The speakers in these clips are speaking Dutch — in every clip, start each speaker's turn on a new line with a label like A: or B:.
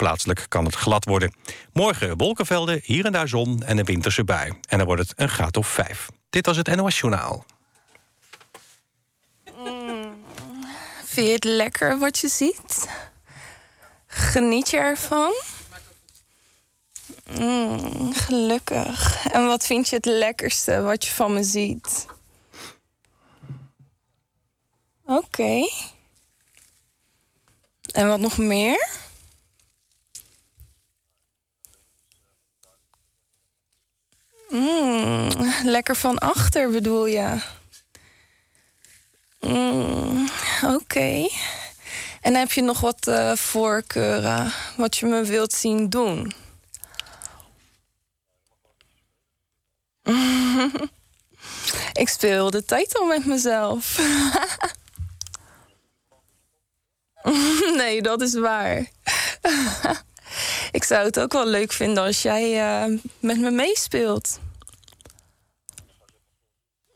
A: Plaatselijk kan het glad worden. Morgen wolkenvelden, hier en daar zon en een winterse bui. En dan wordt het een graad of vijf. Dit was het NOS Journaal.
B: Vind je het lekker wat je ziet? Geniet je ervan? Mm, gelukkig. En wat vind je het lekkerste wat je van me ziet? Oké. En wat nog meer? Mm, lekker van achter bedoel je? Mm, Oké. En heb je nog wat eh, voorkeuren? Wat je me wilt zien doen? Ik speel de tijd al met mezelf. nee, dat is waar. Ik zou het ook wel leuk vinden als jij eh, met me meespeelt.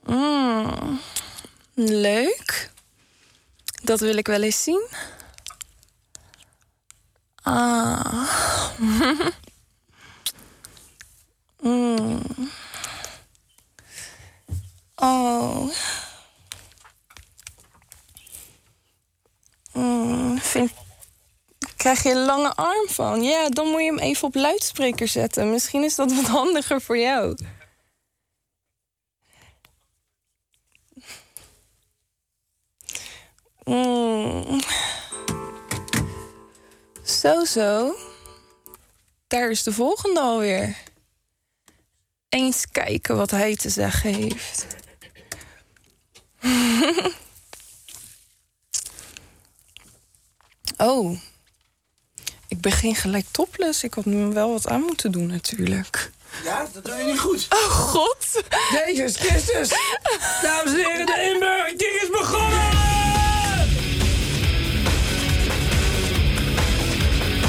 B: Mm, leuk. Dat wil ik wel eens zien. Ah. Mm. Oh. Mm, vind... Krijg je een lange arm van? Ja, dan moet je hem even op luidspreker zetten. Misschien is dat wat handiger voor jou. Mm. Zo, zo. Daar is de volgende alweer. Eens kijken wat hij te zeggen heeft. oh. Ik begin gelijk topless. Ik had me wel wat aan moeten doen, natuurlijk.
C: Ja, Ah, dat doe je niet goed.
B: Oh, god.
C: Jezus Christus. Dames en heren, de inburgering is begonnen.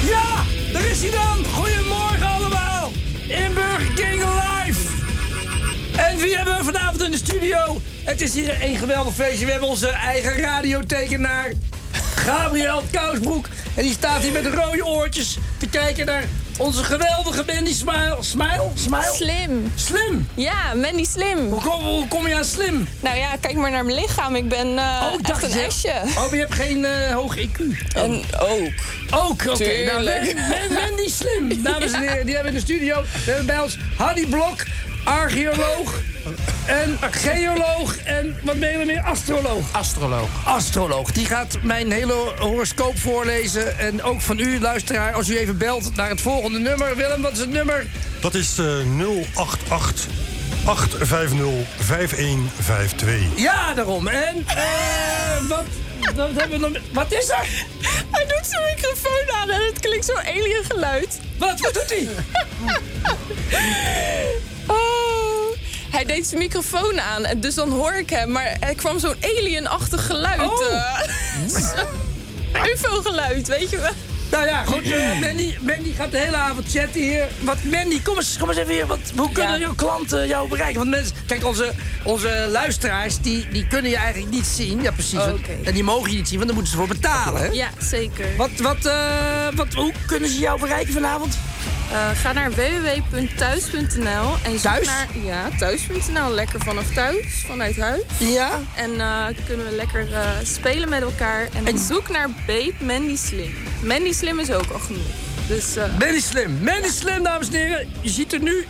C: Ja, daar is hij dan. Goedemorgen allemaal. Inburgering live. En wie hebben we vanavond in de studio? Het is hier een geweldig feestje. We hebben onze eigen radiotekenaar, Gabriel Kousbroek. En die staat hier met rode oortjes te kijken naar onze geweldige Mandy Smile. Smile? Smile?
B: Slim.
C: Slim.
B: Ja, Mandy slim.
C: Hoe kom, hoe kom je aan slim?
B: Nou ja, kijk maar naar mijn lichaam. Ik ben eh,
C: ik dacht
B: echt een
C: je-
B: esje.
C: Oh, maar je hebt geen eh, hoog IQ.
B: En ook.
C: Ook, oké. Nou,
B: Tuurlijk.
C: ben, ben, ben die slim, dames en heren. Die hebben we in de studio. We hebben bij ons Harry Blok, archeoloog en geoloog en wat ben je nog meer? Astroloog.
D: Astroloog.
C: Astroloog. Die gaat mijn hele horoscoop voorlezen. En ook van u, luisteraar, als u even belt naar het volgende nummer. Willem, wat is het nummer?
E: Dat is eh, 088 850 5152.
C: Ja, daarom. En eh, wat, wat hebben we nog meer? Wat is er?
B: Hij doet zijn microfoon aan en het klinkt zo'n alien geluid.
C: Wat, wat doet hij?
B: Oh. Hij deed zijn microfoon aan, en dus dan hoor ik hem. Maar er kwam zo'n alienachtig geluid.
C: Oh.
B: eh. UFO-geluid, weet je wel.
C: Nou ja, goed. eh, Mandy, Mandy gaat de hele avond chatten hier. Wat, Mandy, kom eens, kom eens even hier. Wat, hoe kunnen
B: Ja.
C: jouw klanten jou bereiken? Want mensen, kijk, onze, onze luisteraars, die, die kunnen je eigenlijk niet zien. Ja, precies. want-
B: Oké.
C: En die mogen je niet zien, want daar moeten ze voor betalen. hè?
F: Ja, zeker.
C: Wat, wat, eh, wat, hoe kunnen ze jou bereiken vanavond?
F: Eh, ga naar www.thuis.nl en zoek
C: Thuis?
F: naar ja, thuis.nl. Lekker vanaf thuis, vanuit huis.
C: Ja.
F: En eh, kunnen we lekker eh, spelen met elkaar. En, zoek naar Babe Mandy Slim. Mandy Slim is ook al genoeg. Dus eh,
C: Mandy Slim. Mandy Slim, dames en heren. Je ziet er nu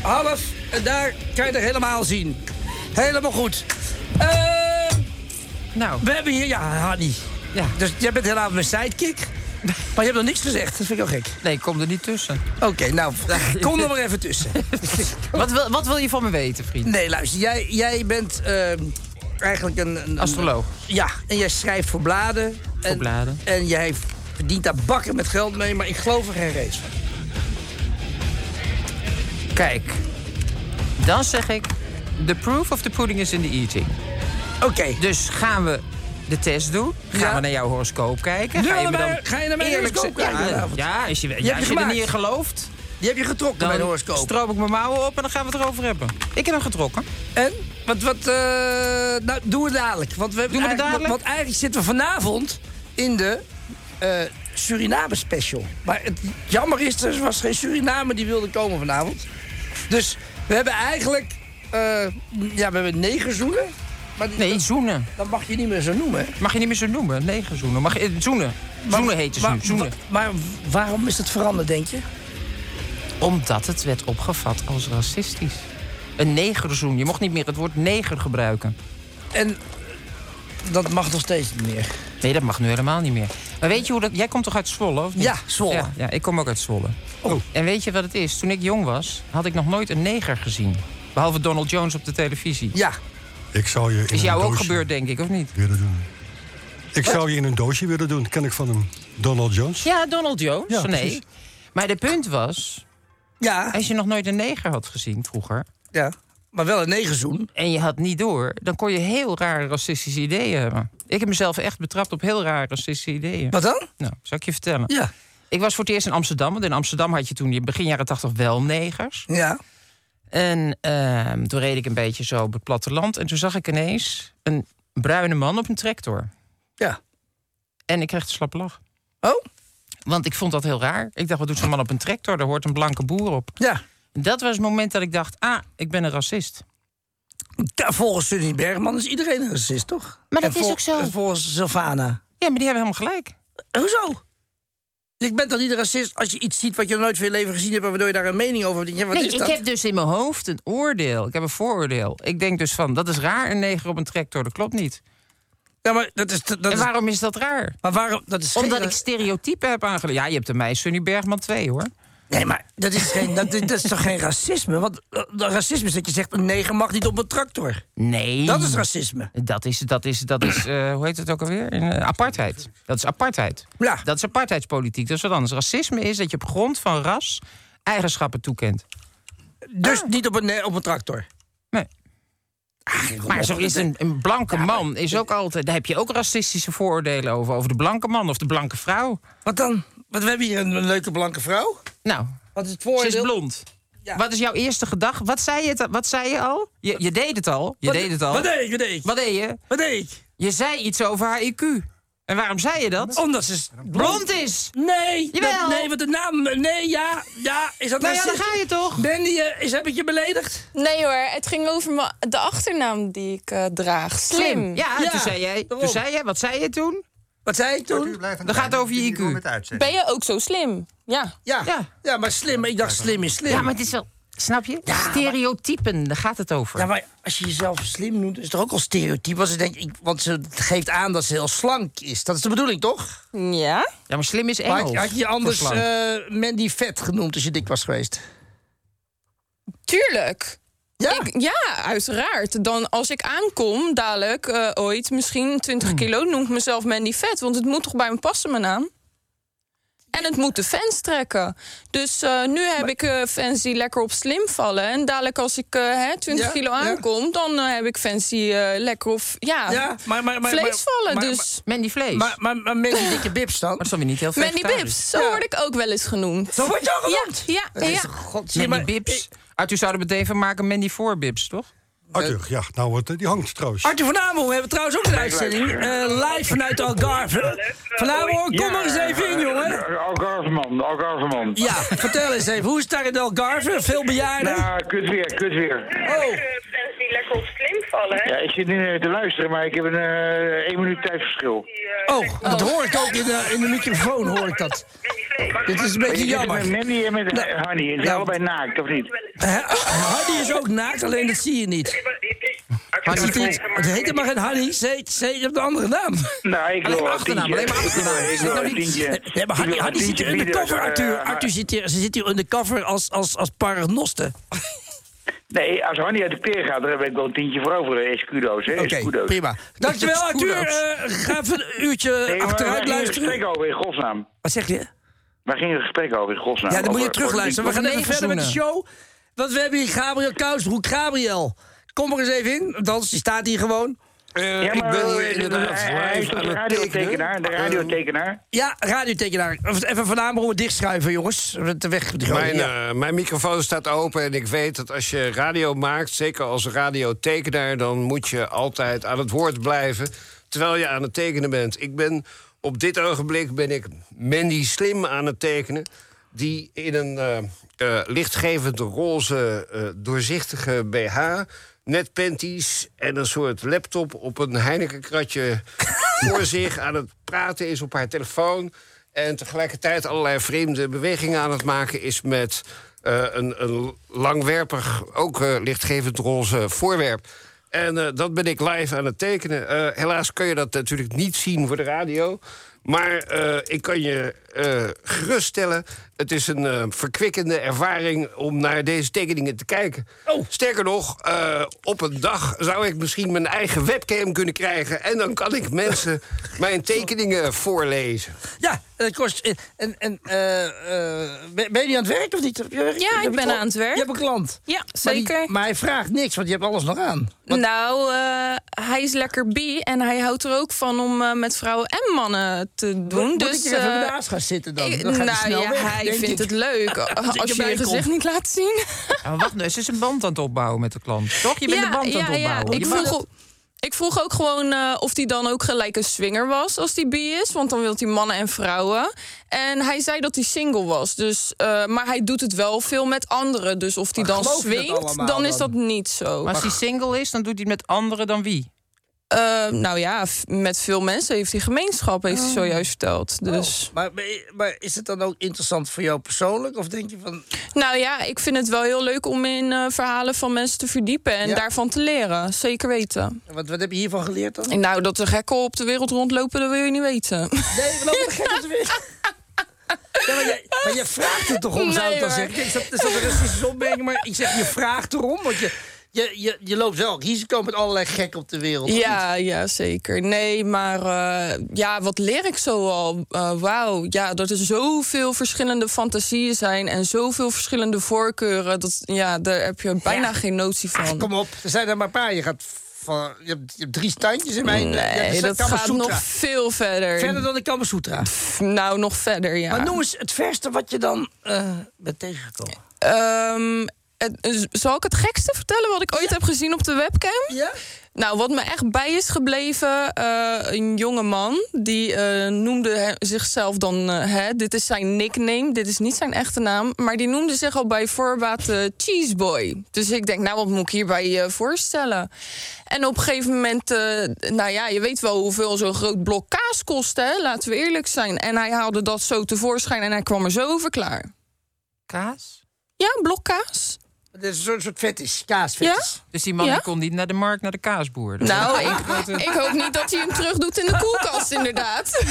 C: half. En daar kan je er helemaal zien. Helemaal goed. Eh,
D: Nou,
C: we hebben hier, ja, Hanny.
D: ja.
C: Dus jij bent helemaal mijn sidekick. Maar je hebt nog niks gezegd. Dat vind ik wel gek.
D: Nee, ik kom er niet tussen.
C: Oké, nou, kom er maar even tussen.
D: Wat wil, wat wil je van me weten, vriend?
C: Nee, luister. Jij, jij bent ehm, eigenlijk een, een- een...
D: Astroloog.
C: Ja, en jij schrijft voor bladen. En,
D: bladen.
C: En jij verdient daar bakken met geld mee, maar ik geloof er geen reet van.
D: Kijk, dan zeg ik... The proof of the pudding is in the eating.
C: Oké.
D: Dus gaan we de test doen? Gaan
C: Ja.
D: we naar jouw horoscoop kijken?
C: Nu
D: Ga je, me
C: allemaal-
D: dan
C: ga je naar mijn
D: eerlijk
C: horoscoop
D: zeggen-
C: kijken vanavond?
D: Ja, ja, als je, ja,
C: hebt
D: als
C: je
D: je er
C: gemaakt.
D: niet in gelooft,
C: Die heb je getrokken bij de
D: dan
C: horoscoop.
D: stroop ik mijn mouwen op en dan gaan we het erover hebben. Ik heb hem getrokken.
C: En? Wat, wat, eh, nou, doen we dadelijk. Want we hebben
D: Doen we het
C: eigenlijk-
D: dadelijk?
C: Want eigenlijk zitten we vanavond in de eh, Suriname special. Maar het jammer is, er was geen Suriname die wilde komen vanavond. Dus we hebben eigenlijk... eh, ja, we hebben negen zoenen. Maar die-
D: Nee,
C: dat,
D: zoenen.
C: dat mag je niet meer zo noemen.
D: Mag je niet meer zo noemen? Nee, geen zoenen. Mag je, eh, zoenen. zoenen heet het
C: Maar-
D: nu. Zoenen.
C: wa- Maar waarom is het veranderd, denk je?
D: Omdat het werd opgevat als racistisch. Een negerzoen. Je mocht niet meer het woord neger gebruiken.
C: En dat mag nog steeds niet meer.
D: Nee, dat mag nu helemaal niet meer. Maar weet je hoe dat... Jij komt toch uit Zwolle, of niet?
C: Ja, Zwolle.
D: Ja, ja, ik kom ook uit Zwolle. En weet je wat het is? Toen ik jong was, had ik nog nooit een neger gezien. Behalve Donald Jones op de televisie.
C: Ja,
A: Ik zou je in
D: Is
A: een
D: jou ook
A: doosje
D: gebeurd, denk ik, of niet?
A: willen doen. Ik zou je in een doosje willen doen. Ken ik van hem. Donald Jones.
D: Ja, Donald Jones.
A: Ja,
D: nee.
A: precies.
D: Maar de punt was,
C: ja,
D: als je nog nooit een neger had gezien vroeger...
C: ja. Maar wel een negenzoen.
D: en je had niet door, dan kon je heel rare racistische ideeën hebben. Ik heb mezelf echt betrapt op heel rare racistische ideeën.
C: Wat dan?
D: Nou, zal ik je vertellen.
C: Ja.
D: Ik was voor het eerst in Amsterdam, want in Amsterdam had je toen... in begin jaren tachtig wel negers.
C: Ja.
D: En ehm, toen reed ik een beetje zo op het platteland... en toen zag ik ineens een bruine man op een tractor.
C: Ja.
D: En ik kreeg de slappe lach.
C: Oh,
D: Want ik vond dat heel raar. Ik dacht, wat doet zo'n man op een tractor? Daar hoort een blanke boer op.
C: ja.
D: Dat was het moment dat ik dacht, ah, ik ben een racist.
C: Ja, Volgens Sunny Bergman is iedereen een racist, toch?
D: Maar dat
C: En
D: is
C: vol-
D: ook zo.
C: en volgens Sylvana.
D: Ja, maar die hebben helemaal gelijk.
C: Hoezo? Ik ben toch niet een racist als je iets ziet wat je nog nooit veel leven gezien hebt... en waardoor je daar een mening over hebt? Ja, wat
D: nee,
C: is
D: ik
C: dat?
D: heb dus in mijn hoofd een oordeel. Ik heb een vooroordeel. Ik denk dus van, dat is raar, een neger op een tractor. Dat klopt niet.
C: Ja, maar dat is... Dat
D: en
C: is
D: waarom is dat raar?
C: maar waarom... Dat is
D: Omdat
C: geen-
D: ik stereotypen heb aangeleerd. Ja, je hebt een meisje, Sunny Bergman 2, hoor.
C: Nee, maar dat is, geen, dat, dat is toch geen racisme? Want eh, racisme is dat je zegt... een neger mag niet op een tractor.
D: Nee.
C: Dat is racisme.
D: Dat is, dat is, dat is eh, hoe heet het ook alweer? Eh, apartheid. Dat is apartheid.
C: Ja.
D: Dat is apartheidspolitiek. Dat is wat anders. Racisme is dat je op grond van ras eigenschappen toekent.
C: Dus niet op een, ne- op een tractor.
D: Nee. Ah, Maar zo is een, een blanke man is ook altijd. Daar heb je ook racistische vooroordelen over. Over de blanke man of de blanke vrouw.
C: Wat dan? Want we hebben hier een, een leuke blanke vrouw.
D: Nou,
C: Wat is het
D: ze is
C: voordeel?
D: blond.
C: Ja.
D: Wat is jouw eerste gedachte? Wat zei je, het- wat zei je al? Je, je deed het al. Je
C: Wat-
D: deed het al.
C: Wat deed ik? Wat deed ik?
D: Wat deed je?
C: Wat deed ik?
D: Je zei iets over haar IQ. En waarom zei je dat?
C: Omdat ze s-
D: Blond is!
C: Nee,
D: Jawel.
C: dat- nee, want de naam... Nee, ja, ja, is dat
D: Nou ja,
C: racistisch?
D: dan ga je toch?
C: Bendy, eh, is, heb ik je beledigd?
B: Nee hoor, het ging over me- de achternaam die ik eh, draag. Slim.
D: Ja,
C: Ja,
D: toen zei jij. Toen
C: daarom.
D: zei jij, wat zei je toen?
C: Wat zei ik toen?
D: Dat gaat over je IQ.
B: Ben je ook zo slim? Ja.
C: Ja, ja.
D: Ja.
C: maar slim. Ik dacht slim is slim.
D: Ja, maar het is wel. Snap je? Stereotypen, daar gaat het over.
C: Ja, maar als je jezelf slim noemt, is het toch ook al stereotyp? Want ze, denkt, ik, want ze geeft aan dat ze heel slank is. Dat is de bedoeling, toch?
B: Ja?
D: Ja, maar slim is
C: Maar
D: Engels.
C: had, had je je anders
D: Voor slang.
C: eh Mandy vet genoemd als je dik was geweest?
B: Tuurlijk.
C: Ja,
B: Ik- ja, uiteraard. Dan als ik aankom, dadelijk eh, ooit, misschien
C: Hmm.
B: 20 kilo, noem ik mezelf Mandy Vet. Want het moet toch bij me passen, mijn naam? En het moet de fans trekken. Dus eh, nu heb ik eh, fans die lekker op slim vallen. En dadelijk als ik eh, hè, 20
C: Ja,
B: kilo
C: ja.
B: aankom, dan eh, heb ik fans die eh, lekker op ja,
C: ja maar, maar, maar, maar-
B: vlees vallen.
C: maar-
B: dus
D: Mandy Vlees.
C: Maar, maar, maar, Mandy dikke bips dan?
D: Maar dat is dan weer niet heel veel.
B: Mandy Bips, zo
C: Ja.
B: word ik ook wel eens genoemd.
C: Zo word je al
B: ja,
C: genoemd?
B: ja,
C: Dat is
B: ja.
C: toch- God,
D: Mandy
C: zie maar-
D: Bips. Arthur zou er meteen van maken Mandy voor Bips, toch?
A: Arthur, ja. Nou, wordt, eh, die hangt trouwens.
C: Arthur van Amelhoorn hebben we trouwens ook een uitzending. eh, live vanuit Algarve. Van Amelhoorn, kom er eens even in, jongen.
G: Algarveman, Algarveman.
C: Ja, vertel eens even. Hoe is het daar in Algarve? Veel bejaarden?
G: Nou, kut weer, kut weer.
C: Oh,
H: Mensen die lekker op slim vallen, hè?
G: Ja, ik zit nu eh, te luisteren, maar ik heb een eh één minuut tijdverschil.
H: eh,
C: oh, dat hoor ik ook in de, in de microfoon, hoor ik dat. Dit is een beetje
G: Je zit
C: jammer.
G: met Mandy en met eh, Hanny. En ze zijn
C: nou.
G: allebei naakt, of niet?
C: Hè? Hardy Eh, is ook naakt, alleen dat zie je niet.
H: Hartstikke
C: Het, is- het heet helemaal geen Hardy, ze heet, ze heet op de andere naam.
G: Nou, ik
D: Alleen
G: wil
D: maar
G: een
D: achternaam,
G: tientje.
D: alleen maar achternaam.
G: Ik
D: Is
G: wil
D: dat
G: een
D: nou iets?
G: tientje.
C: Nee, maar
G: Ik wil
C: Hardy,
G: een
C: Hardy zit
G: tientje
C: hier
G: bieden,
C: undercover,
G: eh,
C: Arthur. Arthur zit hier, ze zit hier undercover als, als, als paragnoste.
G: Nee, als Hanny uit de peer gaat, dan heb ik wel een tientje voor over. eh, Escudo's, hè?
C: Oké,
G: Escudo's.
C: prima. Dankjewel, Arthur. Eh, ga even een uurtje
G: Nee, maar waar
C: achteruit
G: ging het gesprek
C: luisteren.
G: over in godsnaam?
C: Wat zeg je?
G: Waar ging het gesprek over in godsnaam?
C: Ja, dan moet je
G: Over-
C: terugluisteren. We
G: over
C: gaan
G: die-
C: even verder met de show. Want we hebben hier Gabriel Kousbroek. Gabriel, kom er eens even in. Althans, die staat hier gewoon.
I: Eh,
G: Ja, maar, ik ben inderdaad hij is toch de radiotekenaar, de radiotekenaar.
C: Ja, radiotekenaar. Even vanavond om het dichtschuiven, jongens. De weg gooien.
I: Mijn,
C: Ja.
I: eh, mijn microfoon staat open en ik weet dat als je radio maakt, zeker als radiotekenaar, dan moet je altijd aan het woord blijven terwijl je aan het tekenen bent. Ik ben Op dit ogenblik ben ik Mandy Slim aan het tekenen. Die in een eh, eh, lichtgevend roze eh, doorzichtige BH, net panties en een soort laptop op een Heineken-kratje voor zich aan het praten is op haar telefoon. En tegelijkertijd allerlei vreemde bewegingen aan het maken is met eh, een, een langwerpig, ook eh, lichtgevend roze voorwerp. En eh, dat ben ik live aan het tekenen. Eh, helaas kun je dat natuurlijk niet zien voor de radio. Maar eh, ik kan je eh, geruststellen, het is een eh, verkwikkende ervaring om naar deze tekeningen te kijken.
C: Oh.
I: Sterker nog, eh, op een dag zou ik misschien mijn eigen webcam kunnen krijgen. En dan kan ik mensen mijn tekeningen voorlezen.
C: Ja, dat kost. eh, En, en, eh, eh, ben ben je aan het werk of niet? Heb je werk?
B: Ja,
C: Heb
B: ik
C: je
B: ben
C: klant?
B: aan het werk.
C: Je hebt een klant.
B: Ja,
C: Maar die-
B: zeker.
C: Maar, hij vraagt niks, want je hebt alles nog aan.
B: Nou, eh, hij is lekker bi en hij houdt er ook van om eh, met vrouwen en mannen te doen.
C: Moet
B: dus,
C: ik er even
B: eh,
C: naast gaan zitten dan?
B: ik-
C: dan gaat hij
B: nou
C: snel
B: ja,
C: weg,
B: hij
C: denk
B: vindt
C: ik.
B: het leuk eh, als je
C: erbij
B: je
C: kom.
B: gezicht niet laat zien.
D: Ja, maar wacht nou, ze is een band aan het opbouwen met de klant. Toch? Je bent
B: ja,
D: een band aan het
B: ja, ja.
D: opbouwen.
B: Ik
D: Je mag-
B: vroeg, o- ik vroeg ook gewoon eh, of hij dan ook gelijk een swinger was als hij bi is. Want dan wil hij mannen en vrouwen. En hij zei dat hij single was. Dus, eh, maar hij doet het wel veel met anderen. Dus of hij
C: Maar
B: dan
C: geloof je dat allemaal
B: swingt, dan is
C: dan?
B: dat niet zo.
D: Maar als hij single is, dan doet hij het met anderen dan wie?
B: Eh, nou ja, f- met veel mensen heeft hij gemeenschap, heeft hij zojuist verteld. Dus.
C: Maar, maar, maar is het dan ook interessant voor jou persoonlijk? Of denk je van.
B: Nou ja, ik vind het wel heel leuk om in eh, verhalen van mensen te verdiepen en
C: Ja.
B: daarvan te leren. Zeker weten.
C: Wat, wat heb je hiervan geleerd dan?
B: En nou, dat er gekken op de wereld rondlopen, dat wil je niet weten.
C: Nee, we lopen de gekke weer. Ja, maar, jij, maar je vraagt het toch om, zou ik
B: Nee,
C: dan
B: hoor.
C: zeggen. Kijk, is dat, is dat een racistische opmerking? Maar ik zeg, je vraagt erom, want je, je, je, je loopt wel risico met allerlei gek op de wereld. of niet?
B: Ja, ja, zeker. Nee, maar eh, ja, wat leer ik zo al? Eh, Wauw, ja, dat er zoveel verschillende fantasieën zijn en zoveel verschillende voorkeuren. Dat, ja, daar heb je bijna geen notie van.
C: Ach, Ah, kom op, er zijn er maar een paar. Je, gaat van, je, hebt, je hebt drie standjes in mijn...
B: nee, dat gaat nog veel verder.
C: Verder dan de Kamasutra.
B: Nou, nog verder, ja.
C: Maar noem eens het verste wat je dan eh bent tegengekomen.
B: Ehm, het- z- zal ik het gekste vertellen wat ik ooit heb gezien op de webcam?
C: Ja?
B: Nou, wat me echt bij is gebleven, eh, een jonge man die eh, noemde he- zichzelf dan, eh, hè, dit is zijn nickname, dit is niet zijn echte naam, maar die noemde zich al bij voorbaat eh, Cheese Boy. Dus ik denk, nou, wat moet ik hierbij eh, voorstellen? En op een gegeven moment, eh, nou ja, je weet wel hoeveel zo'n groot blok kaas kost, hè? Laten we eerlijk zijn. En hij haalde dat zo tevoorschijn en hij kwam er zo over klaar.
D: Kaas?
B: Ja, een blok kaas.
C: Dat is een soort, soort fetish, kaasfetish.
D: Dus die man
B: Ja?
D: die kon niet naar de markt, naar de kaasboer. Dus
B: Nou, ik, ik hoop niet dat hij hem terug doet in de koelkast, inderdaad.
C: Eh,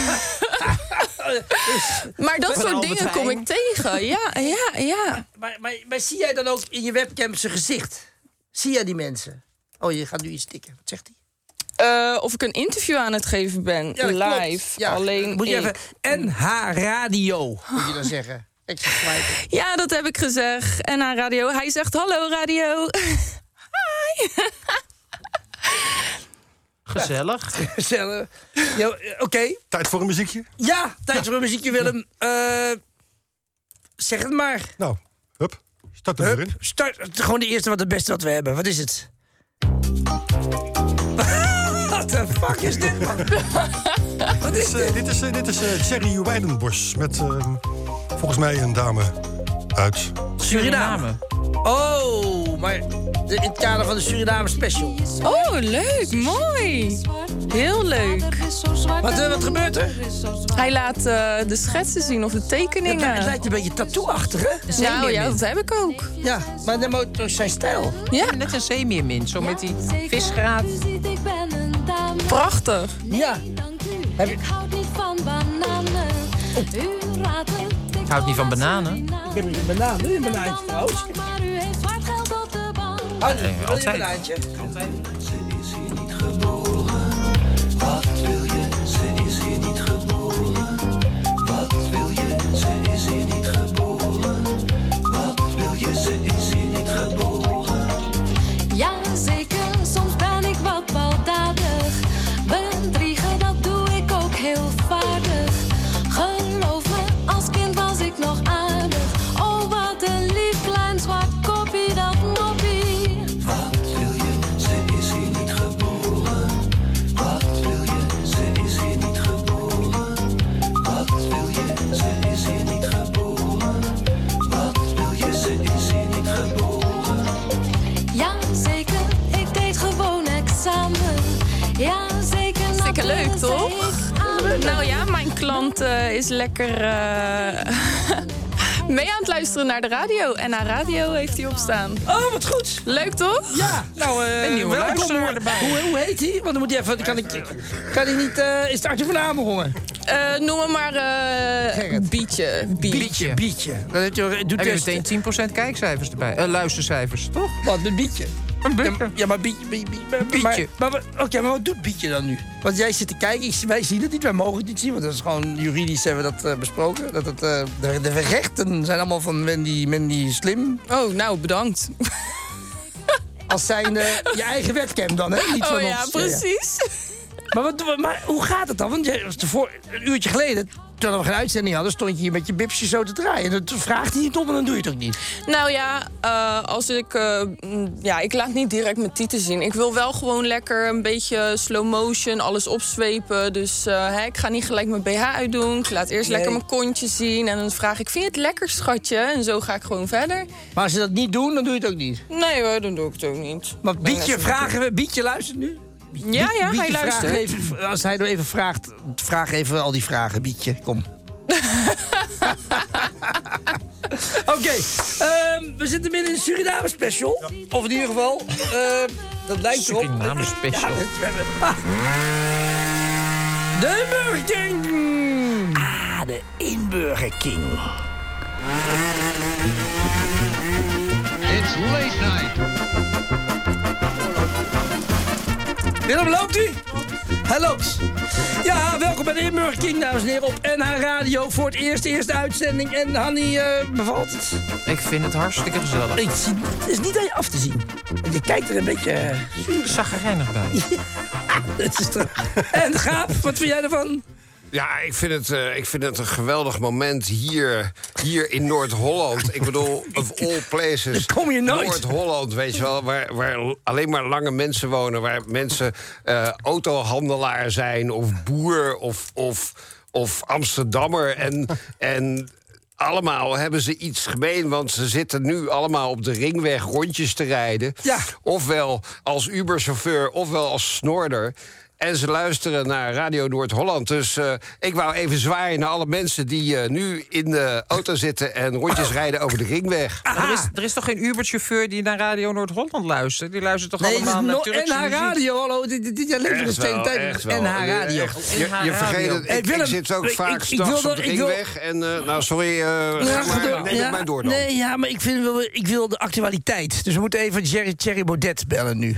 B: maar dat
D: Van
B: soort
D: Albert
B: dingen kom
D: Heijn.
B: ik tegen. Ja, ja, ja.
C: Maar, maar, maar zie jij dan ook in je webcam zijn gezicht? Zie jij die mensen? Oh, je gaat nu iets tikken. Wat zegt hij?
B: Eh, of ik een interview aan het geven ben,
C: dat klopt.
B: live.
C: Ja,
B: Alleen
C: moet je
B: ik.
C: even NH Radio, moet je dan zeggen. Extra flight.
B: Ja, dat heb ik gezegd. En aan radio. Hij zegt hallo radio.
D: gezellig.
C: Gezellig. Ja, eh, Oké,
A: Tijd voor een muziekje?
C: ja, tijd voor een muziekje, Willem. Eh, zeg het maar.
A: Nou, hup. Start er weer
C: Hup,
A: in.
C: start. Gewoon de eerste wat het beste wat we hebben. Wat is het? What the fuck is dit, man? Wat is
A: Dit is, eh,
C: dit?
A: dit is, eh, dit is eh, Thierry Weidenbosch met eh, volgens mij een dame uit.
C: Suriname. Oh, maar de- in het kader van de Suriname special.
B: Oh, leuk. Mooi. Heel leuk.
C: Wat, eh, wat gebeurt er?
B: Hij laat eh, de schetsen zien of de
C: Het
B: tekeningen.
C: lijkt een beetje tattoo-achtig, hè?
B: Nou ja, dat heb ik ook.
C: Ja, maar dan moet toch zijn stijl.
B: Ja,
D: Net een zeemeermin, zo met die visgraat.
J: Ik ben een dame,
B: prachtig.
C: Ja.
J: dank u.
C: Heb-
J: Ik houd niet van bananen. U raadt het. Ik
D: Houdt niet van bananen?
C: Ik heb een banaan. Wil je een banaantje trouwens?
J: Maar u heeft zwart geld op de bank.
C: Ah, wil je een
D: altijd.
C: banaantje?
J: Ja, zeker, soms ben ik wat baldadig. Bedriegen, dat doe ik ook heel vaardig. Geloof me, als kind was ik nog aardig. Oh, wat een lief klein zwart koppie, dat moppie.
K: Wat wil je? Ze is hier niet
B: Hartstikke leuk, toch? Nou ja, mijn klant eh, is lekker eh, mee aan het luisteren naar de radio. En haar radio heeft hij op staan.
C: Oh, wat goed!
B: Leuk, toch?
C: Ja, nou, eh,
D: Een nieuwe
C: welkom.
D: luisteraar erbij.
C: Hoe, hoe heet hij? Want dan moet hij even. Kan ik, kan ik niet. eh, is het Artje van Amerongen?
B: Eh, noem hem maar eh Bietje.
D: Bietje.
C: Bietje.
D: Dan heb je, doet
C: best.
D: meteen 10% kijkcijfers erbij. Eh, luistercijfers, toch?
C: Wat, met Bietje?
D: Een
C: Ja, maar- ja, maar Bietje. Bie, Bie- maar-
D: Bietje.
C: Maar, maar, Oké, maar wat doet Bietje dan nu? Want jij zit te kijken, ik- wij zien het niet, wij mogen het niet zien. Want dat is gewoon juridisch hebben we dat eh, besproken. Dat het, eh, de, de rechten zijn allemaal van Wendy, Wendy Slim.
B: Oh, nou, bedankt.
C: Als zijn je eigen webcam dan, hè? Niet van
B: Oh ja,
C: ons.
B: precies.
C: Maar, wat, doen we- maar hoe gaat het dan? Want jij, was ervoor- een uurtje geleden, toen we geen uitzending hadden, stond je hier met je bipsje zo te draaien. En Toen vraagt hij niet om en dan doe je het ook niet.
B: Nou ja, eh, als ik. eh, mm, ja, ik laat niet direct mijn tieten zien. Ik wil wel gewoon lekker een beetje slow motion, alles opzwepen. Dus eh, hè, ik ga niet gelijk mijn BH uitdoen. Ik laat eerst
C: Nee.
B: lekker mijn kontje zien. En dan vraag ik: Vind je het lekker, schatje? En zo ga ik gewoon verder.
C: Maar als ze dat niet doen, dan doe je het ook niet.
B: Nee hoor, dan doe ik het ook niet.
C: Maar Bietje vragen we, Bietje luistert nu?
B: Ja, ja, hij
C: Bietje, vraag
B: luistert.
C: even- als hij nou even vraagt, vraag even al die vragen, Bietje. Kom. Oké, ehm, we zitten midden in een Suriname special. Of in ieder geval, ehm, dat lijkt erop.
D: Suriname special.
C: Ja, we hebben- Ah. De Burger Ah, de Inburger King.
L: It's late night.
C: Willem, loopt u? Hij loopt. Ja, welkom bij de Inburger King, dames en heren, op NH Radio. Voor het eerst, eerste uitzending. En Hanny, eh, bevalt het?
D: Ik vind het hartstikke gezellig.
C: Ik zie, het is niet aan je af te zien. Je kijkt er een beetje... eh,
D: Ik zag er reinig bij.
C: Het is toch- en Gaap, wat vind jij ervan?
I: Ja, ik vind het, eh, ik vind het een geweldig moment hier, hier in Noord-Holland. Ik bedoel, of all places.
C: Daar kom je nooit.
I: Noord-Holland, weet je wel, waar, waar alleen maar lange mensen wonen. Waar mensen eh, autohandelaar zijn, of boer, of, of, of Amsterdammer. En, en allemaal hebben ze iets gemeen, want ze zitten nu allemaal op de ringweg rondjes te rijden.
C: Ja.
I: Ofwel als Uber-chauffeur, ofwel als snorder. En ze luisteren naar Radio Noord-Holland. Dus eh, ik wou even zwaaien naar alle mensen die eh, nu in de auto zitten en rondjes rijden over de ringweg.
D: Maar Er is, er is toch geen Uber-chauffeur die naar Radio Noord-Holland luistert? Die luistert toch
C: Nee,
D: allemaal naar
C: het is
D: Turkse
C: NH
D: muziek?
C: Radio, hallo. Dit, dit, dit jij leeft nog
I: Echt
C: steeds
I: wel,
C: tijd
I: echt wel.
C: NH Radio.
I: Echt, Je, je vergeet het,
C: Hey,
I: ik,
C: Willem,
I: ik zit ook
C: ik- ik-
I: vaak
C: ik
I: s'nachts
C: wil
I: op de
C: dat- ik wil-
I: ringweg. En eh, nou, sorry, eh ga maar,
C: Ja,
I: neem het maar door dan.
C: Nee, ja, maar ik, vind, wel- ik wil de actualiteit. Dus we moeten even Jerry, Thierry Baudet bellen nu.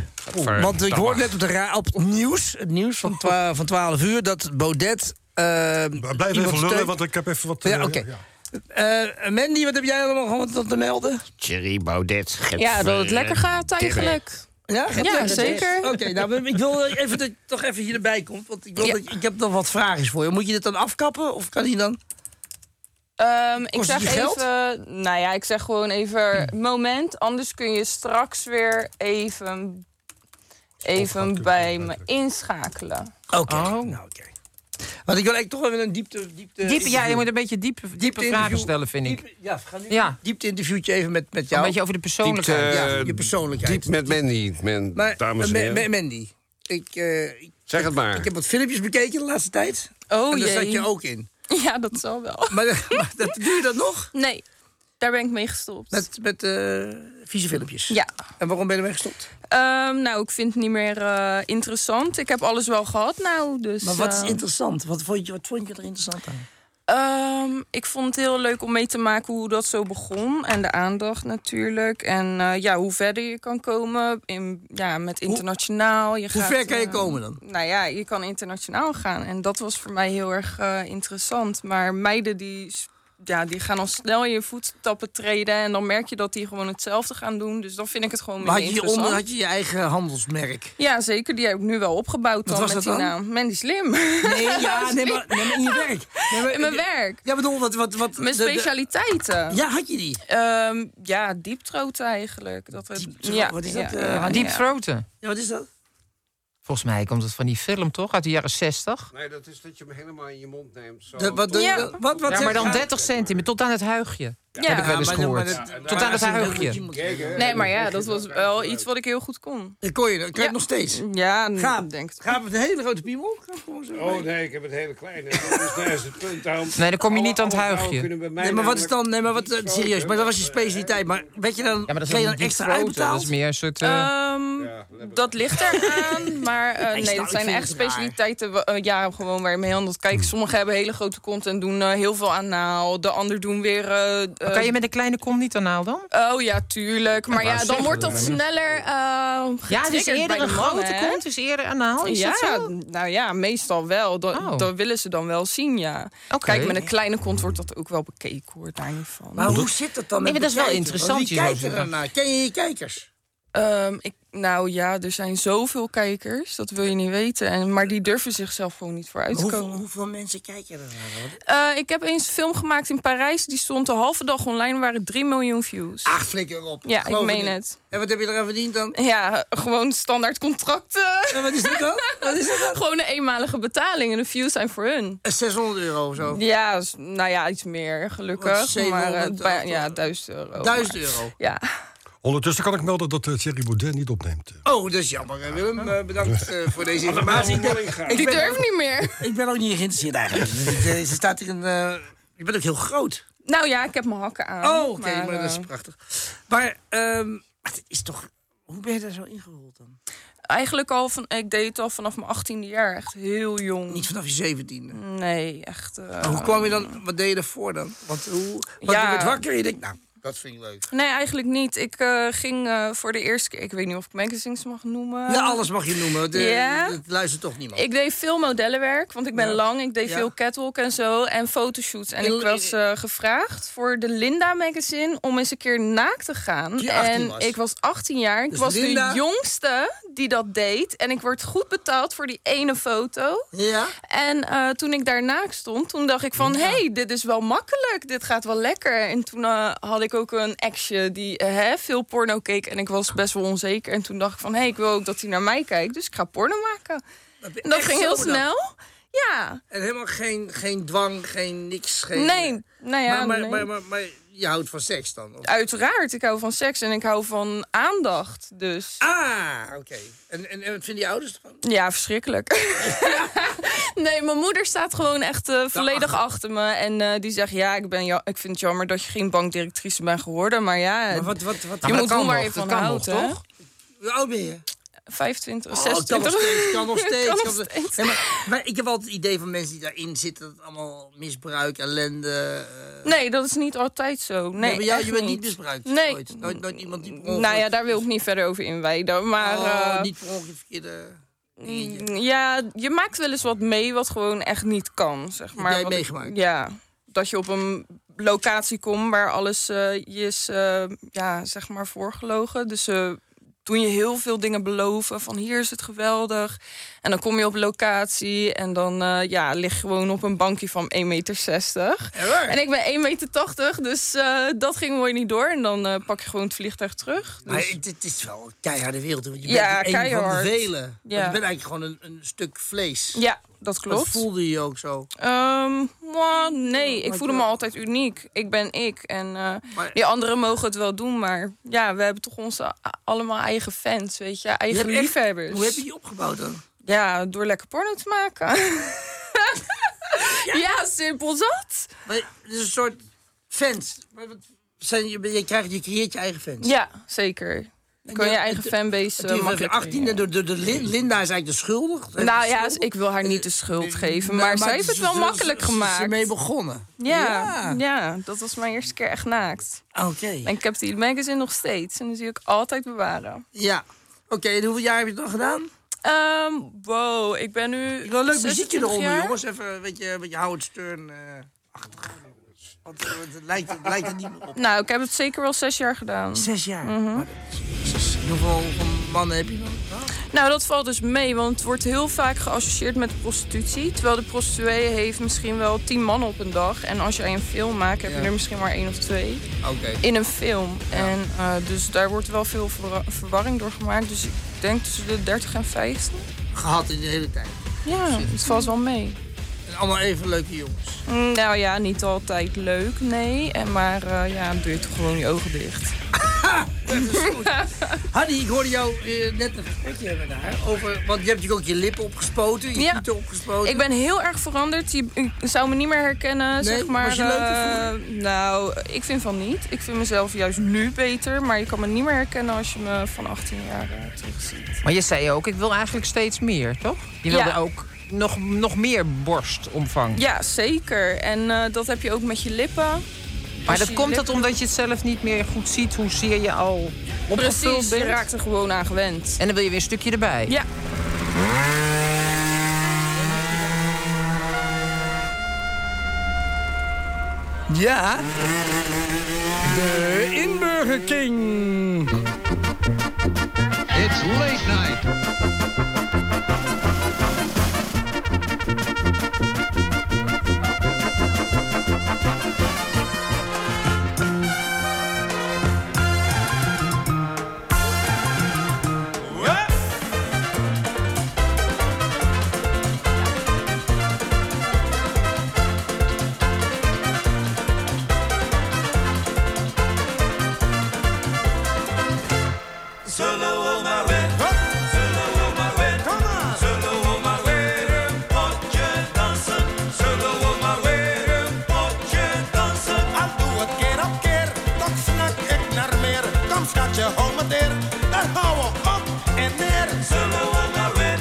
C: Want ik hoorde net op, de ra- op het nieuws, het nieuws van, twa- van 12 uur... dat Baudet... eh,
A: Blijf
C: iemand
A: even lullen,
C: steunt.
A: want ik heb even wat...
C: Ja,
A: eh,
C: oké. Eh, Mandy, wat heb jij allemaal gehad om te melden?
I: Thierry Baudet.
B: Ja, dat het lekker gaat eigenlijk.
C: Ja, gaat lekker.
B: zeker.
C: Oké, nou, ik wil even dat je toch even hierbij komt. Want ik, wil
B: Ja.
C: dat, ik heb nog wat vragen voor je. Moet je dit dan afkappen? Of kan hij dan...
B: Ehm, ik
C: Kost het
B: zeg
C: je geld? Hm.
B: even, nou ja, ik zeg gewoon even moment. Anders kun je straks weer even, even bij me inschakelen.
C: Oké.
D: Oh.
C: Nou, oké. Want ik wil eigenlijk toch even een diepte... diepte
D: Diep, ja, je moet een beetje diep, diepe
C: interview.
D: vragen stellen, vind ik.
C: Diepte, ja, we gaan nu
D: Ja.
C: een diepte interviewtje even met, met
D: Een
C: jou.
D: beetje over de
I: Diepte,
D: persoonlijkheid.
C: ja,
I: eh,
C: je persoonlijkheid.
I: Diep met Mandy, men,
C: maar,
I: dames en
C: Ma-
I: heren.
C: Ma- Mandy, ik, eh, ik,
I: Zeg het maar.
C: ik heb wat filmpjes bekeken de laatste tijd.
B: Oh
C: en daar
B: jee.
C: zat je ook in.
B: Ja, dat zal wel.
C: Maar, maar dat, doe je dat nog?
B: Nee, daar ben ik mee gestopt.
C: Met, met eh, vieze filmpjes?
B: Ja.
C: En waarom ben je ermee gestopt?
B: Ehm, nou, ik vind het niet meer eh, interessant. Ik heb alles wel gehad nou, dus...
C: Maar wat is
B: eh,
C: interessant? Wat vond je, wat vond je er interessant aan?
B: Ehm, ik vond het heel leuk om mee te maken hoe dat zo begon. En de aandacht natuurlijk. En eh, ja, hoe verder je kan komen in, ja, met internationaal. Je
C: Hoe
B: gaat,
C: ver kan je
B: eh,
C: komen dan?
B: Nou ja, je kan internationaal gaan. En dat was voor mij heel erg eh, interessant. Maar meiden die, s- ja, die gaan al snel in je voetstappen treden. En dan merk je dat die gewoon hetzelfde gaan doen. Dus dan vind ik het gewoon
C: Maar
B: minder
C: had je, je
B: interessant.
C: onder, had je je eigen handelsmerk?
B: Ja, zeker. Die heb ik nu wel opgebouwd dan
C: was
B: met
C: dat
B: die
C: dan?
B: naam. Mandy Slim.
C: Nee, ja, nee, maar, nee, maar in je werk. Nee, maar-
B: In mijn werk.
C: Ja, bedoel, wat... wat, wat
B: Mijn
C: de- de-
B: specialiteiten.
C: Ja, had je die?
B: Ehm, ja, dieptroten eigenlijk. Dat het,
C: Dieptroten,
B: ja,
C: wat is dat,
B: ja,
C: eh,
B: ja,
D: Diep throaten.
C: Ja, wat is dat?
D: Volgens mij komt het van die film, toch? Uit de jaren 60.
I: Nee, dat is dat je hem helemaal in je mond neemt. Zo.
D: Dat- wat- Ja. wat- wat- wat Ja, maar dan zeg je? 30 centimeter, tot aan het huigje. Heb ik wel eens gehoord. tot aan het huigje.
B: Nee, maar ja, dat was wel iets wat ik heel goed kon.
C: Dat kon je, dat kan je nog steeds.
B: Ja,
C: Gaap.
B: denk Mm, ik.
C: Gaap met een hele grote piemel? Gaap gewoon zo.
I: Oh nee, ik heb het hele kleine. Dat is, daar is het punt aan.
D: Nee, dan kom je niet aan het
I: vrouwen
D: huigje.
I: kunnen bij mij
C: Nee, maar wat is
I: namelijk
C: dan? Nee, maar wat, eh, serieus, maar dat was je specialiteit. Maar weet je dan,
D: maar dat is
C: kreeg je
D: dan
C: dan
D: die
C: extra
D: grote,
C: uitbetaald?
D: dat is meer een soort, eh,
B: Ehm, dat ligt eraan, maar eh,
C: Hij
B: nee,
C: staat-
B: dat
C: ik
B: zijn
C: vind
B: echt
C: het raar.
B: specialiteiten wa- eh, ja, gewoon waar je mee handelt. Kijk, sommigen hebben hele grote kont en doen eh, heel veel aan naal. De ander doen weer... eh, eh,
D: Kan je met een kleine kom niet aan naal dan?
B: Oh ja, tuurlijk. Maar ja, dan wordt dat sneller eh
D: Ja, dus
B: getriggerd bij
D: eerder
B: de
D: een
B: mannen,
D: grote
B: hè?
D: kont, dus eerder anaal. Is
B: ja,
D: dat zo?
B: nou ja, meestal wel. Dat,
D: Oh.
B: dat willen ze dan wel zien, ja.
D: Oké.
B: Kijk, met een kleine kont wordt dat ook wel bekeken, hoor. Daar niet van.
C: Maar hoe zit dat dan?
D: Nee,
C: met
D: maar dat is wel
C: bekijken?
D: interessant,
C: Want Wie
D: je zou
C: kijkt er dan
D: zeggen.
C: naar? Ken je je kijkers?
B: Ehm, ik, nou ja, er zijn zoveel kijkers, dat wil je niet weten. En, maar die durven zichzelf gewoon niet vooruit te
C: Hoeveel,
B: komen.
C: hoeveel mensen kijken er naar?
B: Eh, ik heb eens een film gemaakt in Parijs. Die stond de halve dag online, waren 3 miljoen views.
C: Ach, flikker op.
B: ja,
C: Geloof
B: ik meen
C: niet.
B: het.
C: En wat heb je eraan verdiend dan?
B: Ja, gewoon standaard contracten.
C: En wat is dit dan? Wat is dit dan?
B: gewoon een eenmalige betaling en de views zijn voor hun.
C: 600 euro of zo.
B: Ja, s- nou ja, iets meer
C: Wat,
B: gelukkig. Maar eh,
C: 700,
B: bij- ja, 1000 euro.
C: 1000
B: Maar-
C: euro.
B: Ja.
A: Ondertussen kan ik melden dat eh, Thierry Baudet niet opneemt.
C: Oh, dat is jammer. eh, Willem, eh, bedankt eh, voor deze informatie. Ik
B: Die
C: ben-
B: durft niet meer.
C: Ik ben ook niet geïnteresseerd eigenlijk. Ze staat hier een. eh, je bent ook heel groot.
B: Nou ja, ik heb mijn hakken aan.
C: Oh, oké, maar, dat is
B: eh,
C: prachtig. Maar ehm, het is toch. Hoe ben je daar zo ingerold dan?
B: Eigenlijk al van, ik deed het al vanaf mijn 18e jaar. Echt heel jong.
C: Niet vanaf je zeventiende.
B: Nee, echt. eh,
C: Maar hoe kwam je dan? Wat deed je daarvoor dan? Want hoe? Want
B: Ja.
C: je werd wakker en je denkt, nou, dat vind ik leuk.
B: Nee, eigenlijk niet. Ik eh, ging eh, voor de eerste keer. Ik weet niet of ik magazines mag noemen.
C: ja, alles mag je noemen. De,
B: ja?
C: Dat luistert toch niemand.
B: Ik deed veel modellenwerk, want ik ben
C: Ja.
B: lang. Ik deed
C: Ja.
B: veel catwalk en zo. En fotoshoots. En
C: Heel-
B: ik was eh, gevraagd voor de Linda magazine om eens een keer naakt te gaan.
C: je 18
B: en
C: was.
B: ik was 18 jaar. Ik
C: Dus
B: was
C: Linda-
B: de jongste die dat deed. En ik werd goed betaald voor die ene foto.
C: Ja?
B: En eh, toen ik daarna stond, toen dacht ik van... hé, hey, dit is wel makkelijk, dit gaat wel lekker. En toen eh, had ik ook een ex-je die eh, hè, veel porno keek... en ik was best wel onzeker. En toen dacht ik van, hé, hey, ik wil ook dat hij naar mij kijkt... dus ik ga porno maken. En dat
C: Echt
B: ging heel
C: zo dan?
B: snel. Ja,
C: En helemaal geen, geen dwang, geen niks. Geen,
B: nee, nou ja,
C: maar, maar,
B: nee.
C: Maar, maar, maar je houdt van seks dan? of?
B: Uiteraard, ik hou van seks en ik hou van aandacht. Dus
C: Ah, oké. En, en, en wat vinden die ouders ervan?
B: ja, verschrikkelijk. nee, mijn moeder staat gewoon echt eh, volledig achter me. En eh, die zegt, ja, ik, ben ja, ik vind het jammer dat je geen bankdirectrice bent geworden. Maar ja,
C: Maar wat, wat, wat,
B: Je
D: maar
B: moet doen
D: dat kan
B: waar
D: nog,
B: je
D: dat
B: van
D: kan
B: houdt,
D: nog,
B: hè?
D: toch?
C: hoe oud ben je?
B: 25,
C: Oh, het
B: 26.
C: kan nog steeds, kan nog steeds.
B: Kan nog
C: kan nog-
B: steeds.
C: Nee, maar, maar ik heb altijd het idee van mensen die daarin zitten... dat het allemaal misbruik, ellende... eh,
B: Nee, dat is niet altijd zo. Nee,
C: maar jou,
B: echt
C: je bent
B: niet.
C: niet misbruikt.
B: Nee.
C: Nooit, nooit, nooit iemand die per
B: Nou ja,
C: ongeluk-
B: daar wil ik niet verder over inwijden. Maar
C: Oh,
B: eh,
C: niet per ongeluk verkeerde dingetje.
B: ja, je maakt wel eens wat mee wat gewoon echt niet kan. Zeg maar.
C: jij
B: Wat-
C: meegemaakt?
B: Ja, dat je op een locatie komt waar alles eh, je is eh, ja, zeg maar voorgelogen. Dus ze doen je heel veel dingen beloven van hier is het geweldig. En dan kom je op locatie en dan eh, ja, lig je gewoon op een bankje van 1,60 meter. En ik ben 1,80 meter, dus eh, dat ging mooi niet door. En dan eh, pak je gewoon het vliegtuig terug.
C: Maar het, het is wel een keiharde wereld. Want je
B: Ja,
C: bent een
B: keihard.
C: van de velen. Want
B: Ja.
C: Je bent eigenlijk gewoon een, een stuk vlees.
B: Ja, dat
C: Dat
B: klopt.
C: voelde je ook zo.
B: Ehm, mwah, nee,
C: Oh,
B: ik voelde me altijd uniek. Ik ben ik. En eh, die anderen mogen het wel doen, maar ja, we hebben toch onze a- allemaal eigen fans, weet je,
C: Je
B: eigen
C: hebt echt-
B: liefhebbers.
C: Hoe heb je die opgebouwd dan?
B: Ja, door lekker porno te maken. ja. simpel zat.
C: Maar het is een soort fans. Maar wat zijn, je, je, krijgt, je creëert je eigen fans.
B: Ja, zeker. Kun je
C: ja,
B: eigen
C: het-
B: fanbase eh,
C: Die van de
B: makkelijk
C: 18
B: creëren.
C: door de, de Lin- Linda is eigenlijk de schuldig. hè,
B: Nou
C: de
B: ja,
C: schuldig.
B: ik wil haar niet de schuld geven,
C: Nou,
B: maar zij heeft
C: ze-
B: het wel
C: ze-
B: makkelijk
C: ze- ze- Ze is
B: gemaakt.
C: ermee begonnen.
B: Ja, ja, dat was mijn eerste keer echt naakt.
C: Oké.
B: En ik heb die magazine nog steeds en die zie ik altijd bewaren.
C: Ja. Oké, en hoeveel jaar heb je het dan gedaan?
B: Ehm, wow, ik ben nu.
C: Wel een leuk
B: 26
C: muziekje eronder,
B: jaar.
C: jongens. Even een beetje, een beetje Howard Stern. eh achtig. Want eh, het lijkt, het lijkt er niet meer op.
B: Nou, ik heb het zeker wel zes jaar gedaan.
C: Zes jaar.
B: Mhm.
C: Maar dat is- jezus, en hoeveel hoeveel mannen heb je dan?
B: Nou, dat valt dus mee, want het wordt heel vaak geassocieerd met prostitutie. Terwijl de prostituee heeft misschien wel tien mannen op een dag. En als jij een film maakt, heb je
C: Ja.
B: er misschien maar één of twee.
C: Oké.
B: In een film. En eh, dus daar wordt wel veel verwa- verwarring door gemaakt. Dus ik denk tussen de 30 en 50.
C: gehad in de hele tijd.
B: Ja, het valt wel mee.
C: En allemaal even leuke jongens.
B: Mm, Nou ja, niet altijd leuk, nee. En maar eh, ja, doe je toch gewoon je ogen dicht.
C: Hanny, ik hoorde jou eh, net een gesprekje hebben met haar. Over, want je hebt natuurlijk ook je lippen opgespoten, je
B: Ja.
C: voeten opgespoten.
B: Ik ben heel erg veranderd. Je ik zou me niet meer herkennen, zeg maar.
C: was je leuker
B: eh, nou, ik vind van niet. Ik vind mezelf juist nu beter. Maar je kan me niet meer herkennen als je me van 18 jaar eh, terug ziet.
D: Maar je zei ook, ik wil eigenlijk steeds meer, toch? Je wilde
B: Ja.
D: ook nog, nog meer borstomvang.
B: Ja, zeker. En eh, dat heb je ook met je lippen.
D: Maar
B: Als
D: dat
B: je
D: komt
B: lippen-
D: dat omdat je het zelf niet meer goed ziet hoezeer je al opgevuld
B: Precies, je
D: bent?
B: raakt er gewoon aan gewend.
D: En dan wil je weer een stukje erbij.
B: Ja.
H: Ja. De Inburger King. It's late night.
M: Solo on my way. Solo on my way. Come on. Solo on my way. Moet je dansen. Solo on my way. Moet je dansen. Al doe het keer op keer. Toch snak ik naar meer. Kom schatje, hou me neer. Daar hou ik op en neer. Solo on my way.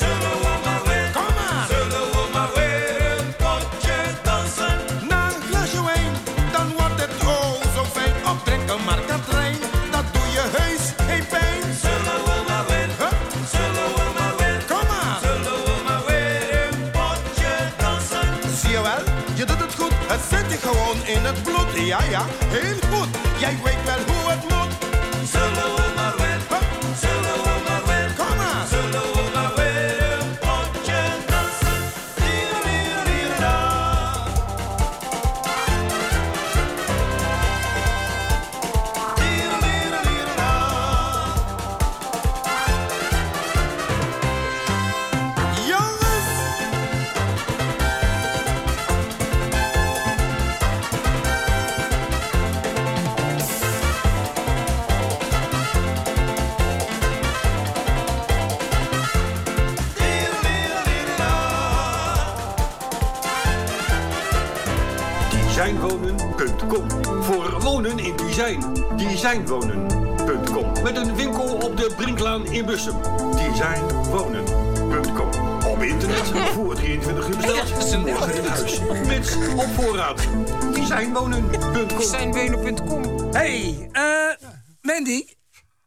M: Solo on my way. Come on. Solo on my way. Moet je dansen. Na een glasje wijn. Dan wordt het oh zo fijn. Opdrinken maar Katrijn. Dat doe je heus geen pijn. Zullen we maar weer, hup, zullen we maar weer. Kom maar. Zullen we maar weer een potje dansen. Zie je wel, je doet het goed. Het zit je gewoon in het bloed. Ja, ja, heel goed. Jij weet wel hoe het moet. Zullen we maar weer, hup, zullen we maar weer. Kom maar. Zullen we maar weer een potje dansen. Dierenierierierida. Jongens!
N: Designwonen.com Voor wonen in design. Designwonen.com Met een winkel op de Brinklaan in Bussum. Designwonen.com Op internet voor 23 uur besteld. Morgen in huis. Mits op voorraad. Designwonen.com
D: Designwonen.com
C: Hey, eh, Mandy,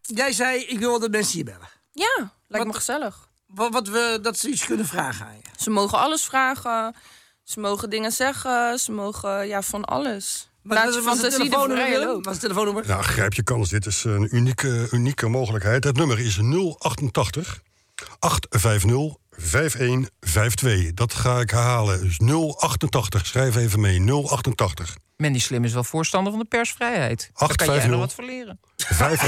C: jij zei ik wil de mensen hier bellen.
B: Ja, lijkt me gezellig.
C: Wat, wat we, dat ze iets kunnen vragen aan je.
B: Ze mogen alles vragen. Ze mogen dingen zeggen. Ze mogen ja, van alles.
C: Maar
B: Laat
C: was-
B: je
C: was het
B: fantasie de
C: telefoonnummer,
B: vrije
C: Willem?
B: loop.
C: Was het telefoonnummer?
A: Ja, grijp je kans. Dit is een unieke, unieke mogelijkheid. Het nummer is 088 850 5152. Dat ga ik herhalen. Dus 088. Schrijf even mee. 088
D: Mandy Slim is wel voorstander van de persvrijheid.
I: Oh,
D: Daar kan jij
A: 850.
D: nog wat voor leren.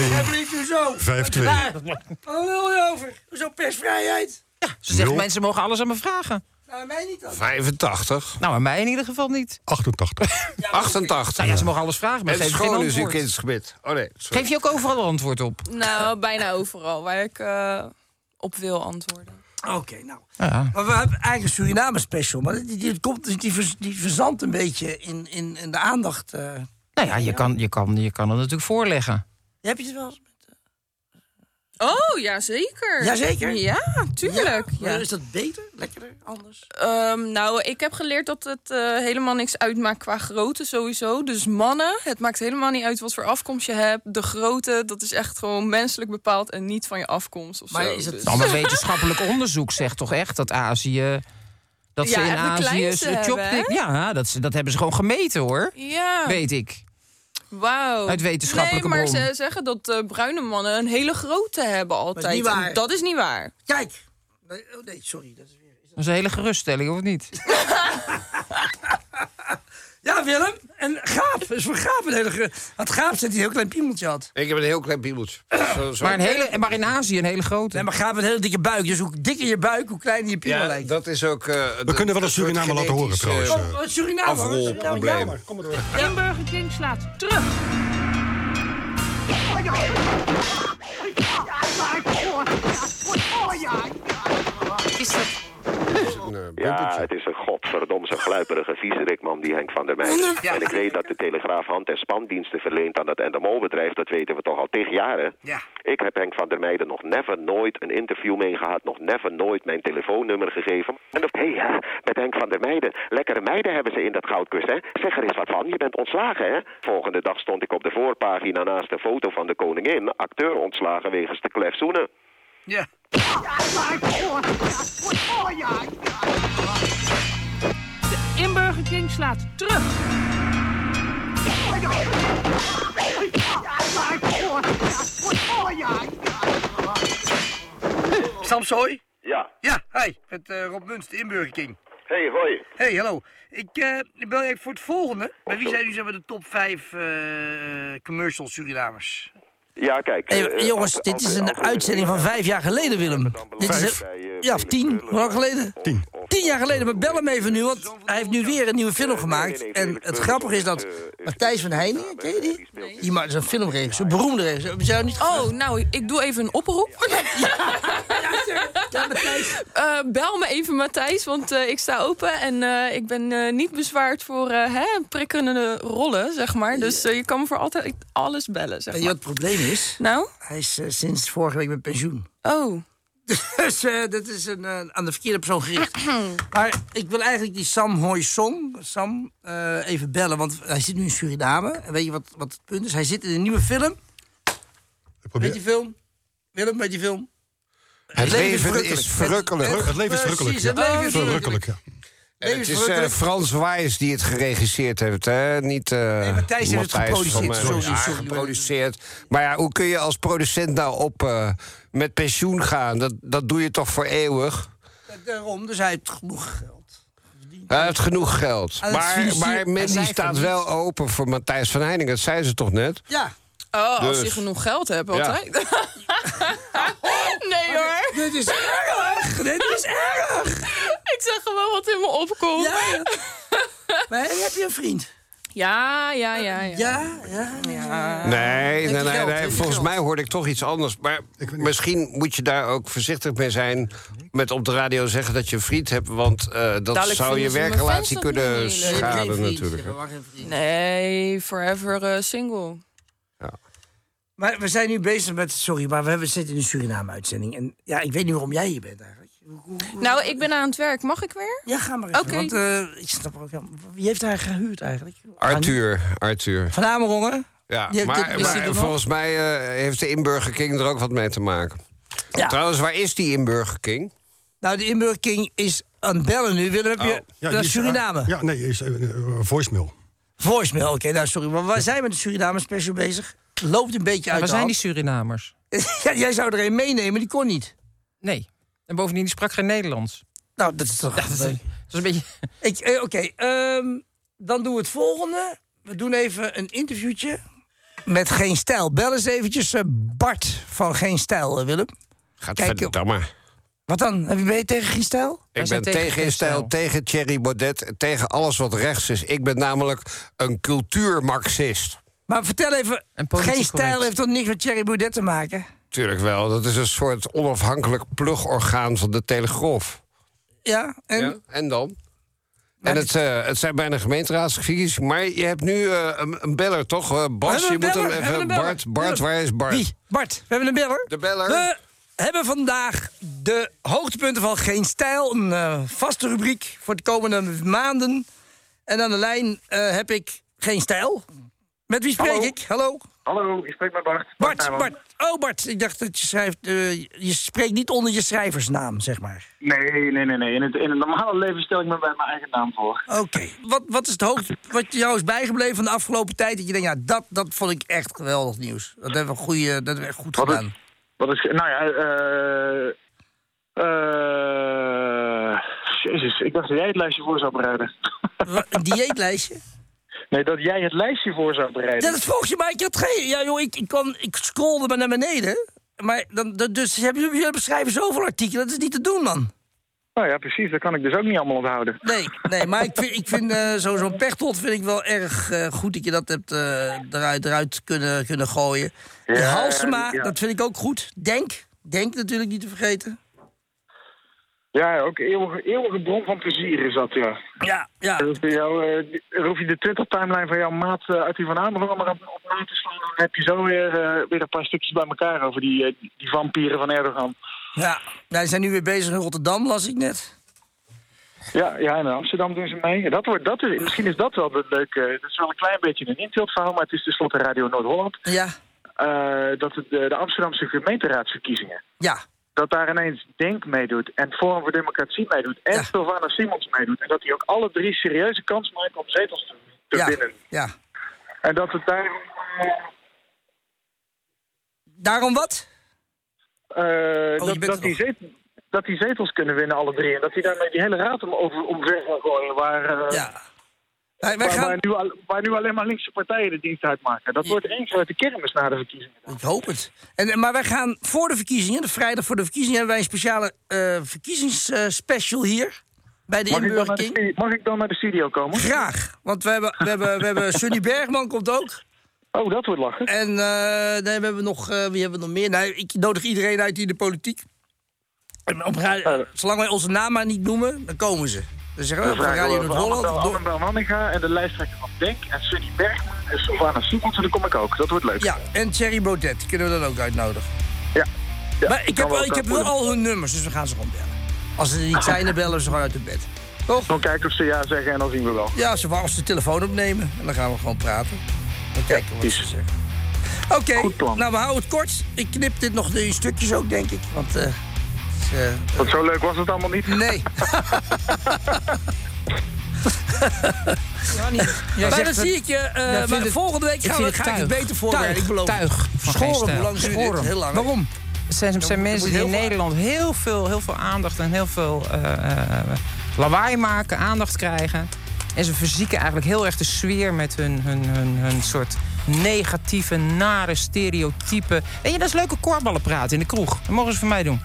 A: 51.
C: hoezo?
A: Vijf, twee.
C: Waar? Waar wil je over? Hoezo persvrijheid?
D: Ze zegt,
I: Nul.
D: mensen mogen alles aan me vragen.
C: Nou, mij niet dan.
I: 85.
D: Nou, aan mij in ieder geval niet.
A: 88.
I: 88.
D: Nou ja, ze mogen alles vragen, maar
I: Oh, het
D: geef geen
I: schoon is dus, uw
D: antwoord.
I: kindsgebit. Oh nee, sorry.
D: Geef je ook overal antwoord op?
B: Nou, bijna overal waar ik eh, op wil antwoorden.
C: Oké, nou. Maar we hebben eigenlijk een Suriname special. Maar die, die, komt, dus- die, vers- die verzandt een beetje in, in, in de aandacht. eh.
D: Nou ja, je kan, je, kan, je kan het natuurlijk voorleggen.
C: Heb je het wel eens?
B: Oh, ja, zeker.
C: Jazeker. dus-
B: Ja, tuurlijk.
C: Maar
B: Ja.
C: Is dat beter? Lekkerder? Anders?
B: Ehm, nou, ik heb geleerd dat het eh, helemaal niks uitmaakt qua grootte sowieso. Dus mannen, het maakt helemaal niet uit wat voor afkomst je hebt. De grootte, dat is echt gewoon menselijk bepaald en niet van je afkomst of zo. Dus-
D: Nou, maar wetenschappelijk onderzoek zegt toch echt dat Azië... Dat ze
B: Ja,
D: in
B: en de
D: Azië...
B: kleinste
D: ze
B: hebben, hè?
D: ja, dat, ze- dat hebben ze gewoon gemeten, hoor.
B: Ja.
D: Weet ik.
B: Wauw.
D: Uit wetenschappelijke
B: Nee, maar
D: bron.
B: ze zeggen dat eh, bruine mannen een hele grote hebben altijd.
C: niet waar.
B: En Dat is niet waar.
C: Kijk. Nee, oh nee, sorry. Dat is weer...
D: Dat is een hele geruststelling, of niet?
C: Ja, Willem. En Gaap. Dat is voor Gaap een hele... ge- Want Gaap zit die een heel klein piemeltje had.
I: Ik heb een heel klein piebeltje.
D: Maar, een hele, maar in Azië een hele grote.
C: Nee, maar Gaap heeft een hele dikke buik. Dus hoe dikker je buik, hoe kleiner je piemel
I: Ja,
C: lijkt.
I: dat is ook... We
A: kunnen wel een Suriname laten horen, trouwens, eh.
C: Oh, Suriname, hoor.
I: Afrolprobleem.
C: Kom maar door.
M: En Burger King slaat terug.
D: Is dat...
I: eh,
O: Ja, het is een godverdomse gluiperige vieserikman, die Henk van der Meijden.
M: Ja.
O: En ik weet dat de Telegraaf hand- en spandiensten verleent aan dat Endemol-bedrijf. Dat weten we toch al tegen jaren.
M: Ja.
O: Ik heb Henk van der Meijden nog never nooit een interview mee gehad. Nog never nooit mijn telefoonnummer gegeven. En dan, hé, hè, met Henk van der Meijden. Lekkere meiden hebben ze in dat goudkust, hè? Zeg er eens wat van, je bent ontslagen, hè? Volgende dag stond ik op de voorpagina naast een foto van de koningin. Acteur ontslagen wegens te klefzoenen.
M: Ja. De Inburger King slaat terug.
P: Samsoy?
O: Ja.
P: Ja, hi. Met eh, Rob Muns, de Inburger King.
O: Hey, hoi.
P: Hey, hallo. Ik eh, ik bel je voor het volgende. Bij wie zijn nu zeg maar, de top 5 eh commercial Surinamers?
O: Ja, kijk. eh,
C: Hey, jongens, dit is een uitzending van vijf jaar geleden, Willem. Dit is
O: Vijf.
C: een- ja, of tien. Hoe lang geleden? Tien. Tien jaar geleden, maar bel hem even nu, want hij heeft nu weer een nieuwe film gemaakt. En het grappige is dat Matthijs van Heiningen, ken je die? Die ma- is een filmregisseur, een beroemde regisseur. Heb je haar niet
B: Oh, nou, ik doe even een oproep.
C: Ah,
B: Eh, bel me even, Matthijs, want eh, ik sta open en eh, ik ben eh, niet bezwaard voor eh, hè, prikkelende rollen, zeg maar. Dus eh, je kan me voor altijd alles bellen, zeg
C: Weet
B: maar.
C: Eh, je wat het probleem is?
B: Nou?
C: Hij is eh, sinds vorige week met pensioen.
B: Oh.
C: Dus eh, dat is een, eh, aan de verkeerde persoon gericht. maar ik wil eigenlijk die Sam Hoi Song, Sam, eh, even bellen. Want hij zit nu in Suriname. En weet je wat, wat het punt is? Hij zit in een nieuwe film. Weet je film? Willem, weet je film?
I: Het leven is verrukkelijk.
C: Het-
I: Het leven is
C: Precies,
I: verrukkelijk,
C: het
I: ja.
C: leven is
I: Verrukkelijk,
C: verrukkelijk.
I: En het is eh
C: Levensverrukkelijk.
I: Frans Waaiers die het geregisseerd heeft, hè? Niet, eh nee,
C: Matthijs heeft het geproduceerd, sorry, sorry.
I: geproduceerd. Maar ja, hoe kun je als producent nou op eh, met pensioen gaan? Dat, dat doe je toch voor eeuwig?
C: Daarom, dus hij heeft genoeg geld.
I: Hij heeft genoeg geld.
C: Aan het
I: Maar,
C: financier-
I: maar
C: Hij zei
I: Mandy
C: van
I: staat
C: niet.
I: wel open voor Matthijs van Heiningen. Dat zei ze toch net?
C: Ja.
B: Oh, als
I: Dus.
B: je genoeg geld hebt,
I: Ja.
B: altijd. nee hoor.
C: Dit is erg! Dit is erg!
B: ik zeg gewoon wat in me opkomt.
C: Ja, Maar heb je een vriend?
B: Ja, ja, ja. Ja,
C: ja, ja. Ah,
I: Nee, nee, nee,
C: Heeft hij geld?
I: nee.
C: Heeft hij
I: volgens
C: geld?
I: mij hoorde ik toch iets anders. Maar misschien moet je daar ook voorzichtig mee zijn... met op de radio zeggen dat je een vriend hebt... want eh, dat
B: Dadelijk
I: zou je
B: vinden ze mijn
I: werkrelatie
B: fans dat
I: kunnen
B: niet meer leuk.
I: schaden
B: Geen vriend,
I: natuurlijk.
B: Nee, forever eh, single.
C: Maar we zijn nu bezig met, sorry, maar we hebben- zitten in een Suriname-uitzending. En ja, ik weet niet waarom jij hier bent eigenlijk.
B: Nou, ik ben aan het werk. Mag ik weer?
C: Ja, ga maar
B: Oké.
C: even, Want eh, ik snap ook, wel- wie heeft haar gehuurd eigenlijk?
I: Arthur, Arthur.
C: Van Amerongen?
I: Ja,
C: Die- die-
I: maar,
C: is die
I: maar
C: er nog?
I: volgens mij eh, heeft de Inburger King er ook wat mee te maken. Trouwens, waar is die Inburger King?
C: Nou, de Inburger King is aan het bellen nu. Willem, heb je
I: Oh. Ja,
C: naar
I: die is-
C: Suriname?
A: Ja, nee, is, eh, eh, voicemail.
C: Voicemail, oké, nou sorry. Maar wij zijn met de Suriname-special bezig. Loopt een beetje uit
D: Waar
C: de
D: zijn die
C: hand.
D: Surinamers?
C: Ja, jij zou er een meenemen, die kon niet.
D: Nee. En bovendien, die sprak geen Nederlands.
C: Nou, dat is toch...
D: dat, is, een beetje...
C: Ik, eh, Oké, ehm, dan doen we het volgende. We doen even een interviewtje met Geen Stijl. Bel eens eventjes eh, Bart van Geen Stijl, eh, Willem.
I: Gaat
C: Kijk,
I: verdamme.
C: Wat dan? Heb je ben je tegen Geen Stijl?
I: Ik ben tegen in stijl, tegen Thierry Baudet, tegen alles wat rechts is. Ik ben namelijk een cultuurmarxist.
C: Maar vertel even,
I: politiek
C: Geen Stijl
I: correct.
C: heeft toch niks met Thierry Baudet te maken?
I: Tuurlijk wel, dat is een soort onafhankelijk plugorgaan van de Telegraaf.
C: Ja, en?
I: Ja, en dan? En het, eh, het zijn bijna gemeenteraadsverkiezingen, maar je hebt nu eh, een, een beller, toch? Eh, Bas,
C: We
I: je
C: hebben
I: moet
C: een
I: hem
C: beller, we
I: even...
C: hebben een beller.
I: Bart, Bart,
C: Willem.
I: waar is Bart?
C: Wie? Bart, we hebben een beller. De
I: beller.
C: We hebben vandaag de hoogtepunten van Geen Stijl. Een eh, vaste rubriek voor de komende maanden. En aan de lijn eh, heb ik Geen Stijl. Met wie spreek
Q: Hallo.
C: ik? Hallo?
Q: Hallo, ik spreek met Bart.
C: Bart,
Q: Nijman.
C: Bart. Oh, Bart, ik dacht dat je schrijft... eh, je spreekt niet onder je schrijversnaam, zeg maar.
Q: Nee, nee, nee, nee. In het, in het normale leven stel ik me bij mijn eigen naam voor.
C: Oké. Eh, Wat, wat is het hoogte wat jou is bijgebleven van de afgelopen tijd? Dat je denkt, ja, dat, dat vond ik echt geweldig nieuws. Dat hebben we, goeie, dat hebben we echt goed
Q: Wat
C: gedaan.
Q: is, wat is, nou ja, eh... eh jezus, ik dacht dat jij het lijstje voor zou bereiden.
C: Een dieetlijstje?
Q: Nee, dat jij het lijstje voor zou bereiden.
C: Ja, dat vroeg je maar. Ik had geen... Ja, joh, ik, ik, kwam, ik scrollde maar naar beneden. Maar dan, dan- dus ze hebben- jullie beschrijven zoveel artikelen. Dat is niet te doen, man.
Q: Nou ja, precies. Dat kan ik dus ook niet allemaal onthouden.
C: Nee, nee maar ik vind, ik vind eh, zo- zo'n pechtot vind ik wel erg eh, goed dat je dat hebt eh, eruit, eruit kunnen, kunnen gooien.
Q: Ja,
C: De Halsema,
Q: ja.
C: dat vind ik ook goed. Denk, denk natuurlijk niet te vergeten.
Q: Ja, ook eeuwige, eeuwige bron van plezier is dat, ja.
C: Ja, ja.
Q: Dan hoef je, jou, eh, dan hoef je de Twitter-timeline van jouw maat eh, uit die van Amerongen maar op, op na te slaan. Dan heb je zo weer, eh, weer een paar stukjes bij elkaar over die, eh, die vampieren van Erdogan.
C: Ja, nou, die zijn nu weer bezig in Rotterdam, las ik net.
Q: Ja, ja en in Amsterdam doen ze mee. En Dat wordt, dat is, misschien is dat wel een leuke... Dat is wel een klein beetje een intiltverhaal, maar het is tenslotte Radio Noord-Holland. Eh,
C: Ja.
Q: dat het, de, de Amsterdamse gemeenteraadsverkiezingen...
C: Ja.
Q: Dat daar ineens Denk meedoet en Forum voor Democratie meedoet... en Sylvana Simons meedoet. En dat die ook alle drie serieuze kans maken om zetels te, te
C: ja,
Q: winnen.
C: Ja.
Q: En dat het daarom... eh,
C: Daarom wat?
Q: eh,
C: Oh, je
Q: dat,
C: bent
Q: dat,
C: er
Q: die
C: nog.
Q: zetel- dat die zetels kunnen winnen, alle drie. En dat die daarmee die hele raad om, over, omver gaan gooien. Waar, eh,
C: Wij, wij
Q: waar,
C: gaan...
Q: waar nu, al- waar nu alleen maar linkse partijen de dienst uitmaken. Dat wordt één grote kermis na de verkiezingen.
C: Ik hoop het. En, eh, maar wij gaan voor de verkiezingen, de vrijdag voor de verkiezingen... hebben wij een speciale eh verkiezingsspecial hier. Bij de
Q: Mag ik, dan naar de
C: inburgering.
Q: studio, mag ik dan naar de studio komen?
C: Graag. Want we hebben, we hebben, we hebben Sunny Bergman komt ook.
Q: Oh, dat wordt lachen.
C: En eh, nee, we hebben nog, eh, wie hebben we nog meer? Nou, ik nodig iedereen uit die in de politiek. En Op, ra- zolang wij onze naam maar niet noemen, dan komen ze. Dan zeggen we,
Q: Eh. Dan
C: van
Q: vragen
C: Radio
Q: we over
C: Noord-Holland.
Q: Annabel-
C: door-
Q: Annabel Nanninga en de lijsttrekker van Denk en Sunny Bergman en Sylvana Simons. En dan kom ik ook. Dat wordt leuk.
C: Ja, en Thierry Baudet kunnen we dan ook uitnodigen.
Q: Ja. Ja,
C: maar ik heb,
Q: kan wel,
C: wel, ik
Q: kan
C: heb wel
Q: moeilijk.
C: al hun nummers, dus we gaan ze gewoon bellen. Als ze er niet zijn, dan bellen ze gewoon uit hun bed. Toch?
Q: Dan kijken of ze ja zeggen en dan zien we wel.
C: Ja, ze wou als ze de telefoon opnemen en dan gaan we gewoon praten. Dan kijken we wat ze zeggen. Oké, nou we houden het kort. Ik knip dit nog in stukjes ook, denk ik. Want, eh, het is, eh,
Q: Want zo leuk was het allemaal niet.
C: Nee.
D: Jij
C: maar
D: zegt
C: dan
D: het-
C: zie ik je. eh,
D: Ja, vind
C: maar
D: het-
C: volgende week
D: ik
C: gaan
D: vind het
C: we, ga ik het
D: tuig.
C: beter voorbereiden.
D: Tuig.
C: ik beloof.
D: Tuig. Van geen
C: Schoren,
D: stijl.
C: hoe lang duurt dit?
D: Schoren.
C: Heel lang. hè?
D: Waarom? Er zijn, er zijn mensen
C: moet
D: die in
C: heel veel-
D: Nederland heel veel, heel veel aandacht en heel veel eh, eh, lawaai maken, aandacht krijgen. En ze verzieken eigenlijk heel erg de sfeer met hun, hun, hun, hun soort negatieve, nare stereotypen. Weet je, dat is leuke korballenpraat in de kroeg. Dat mogen ze van mij doen.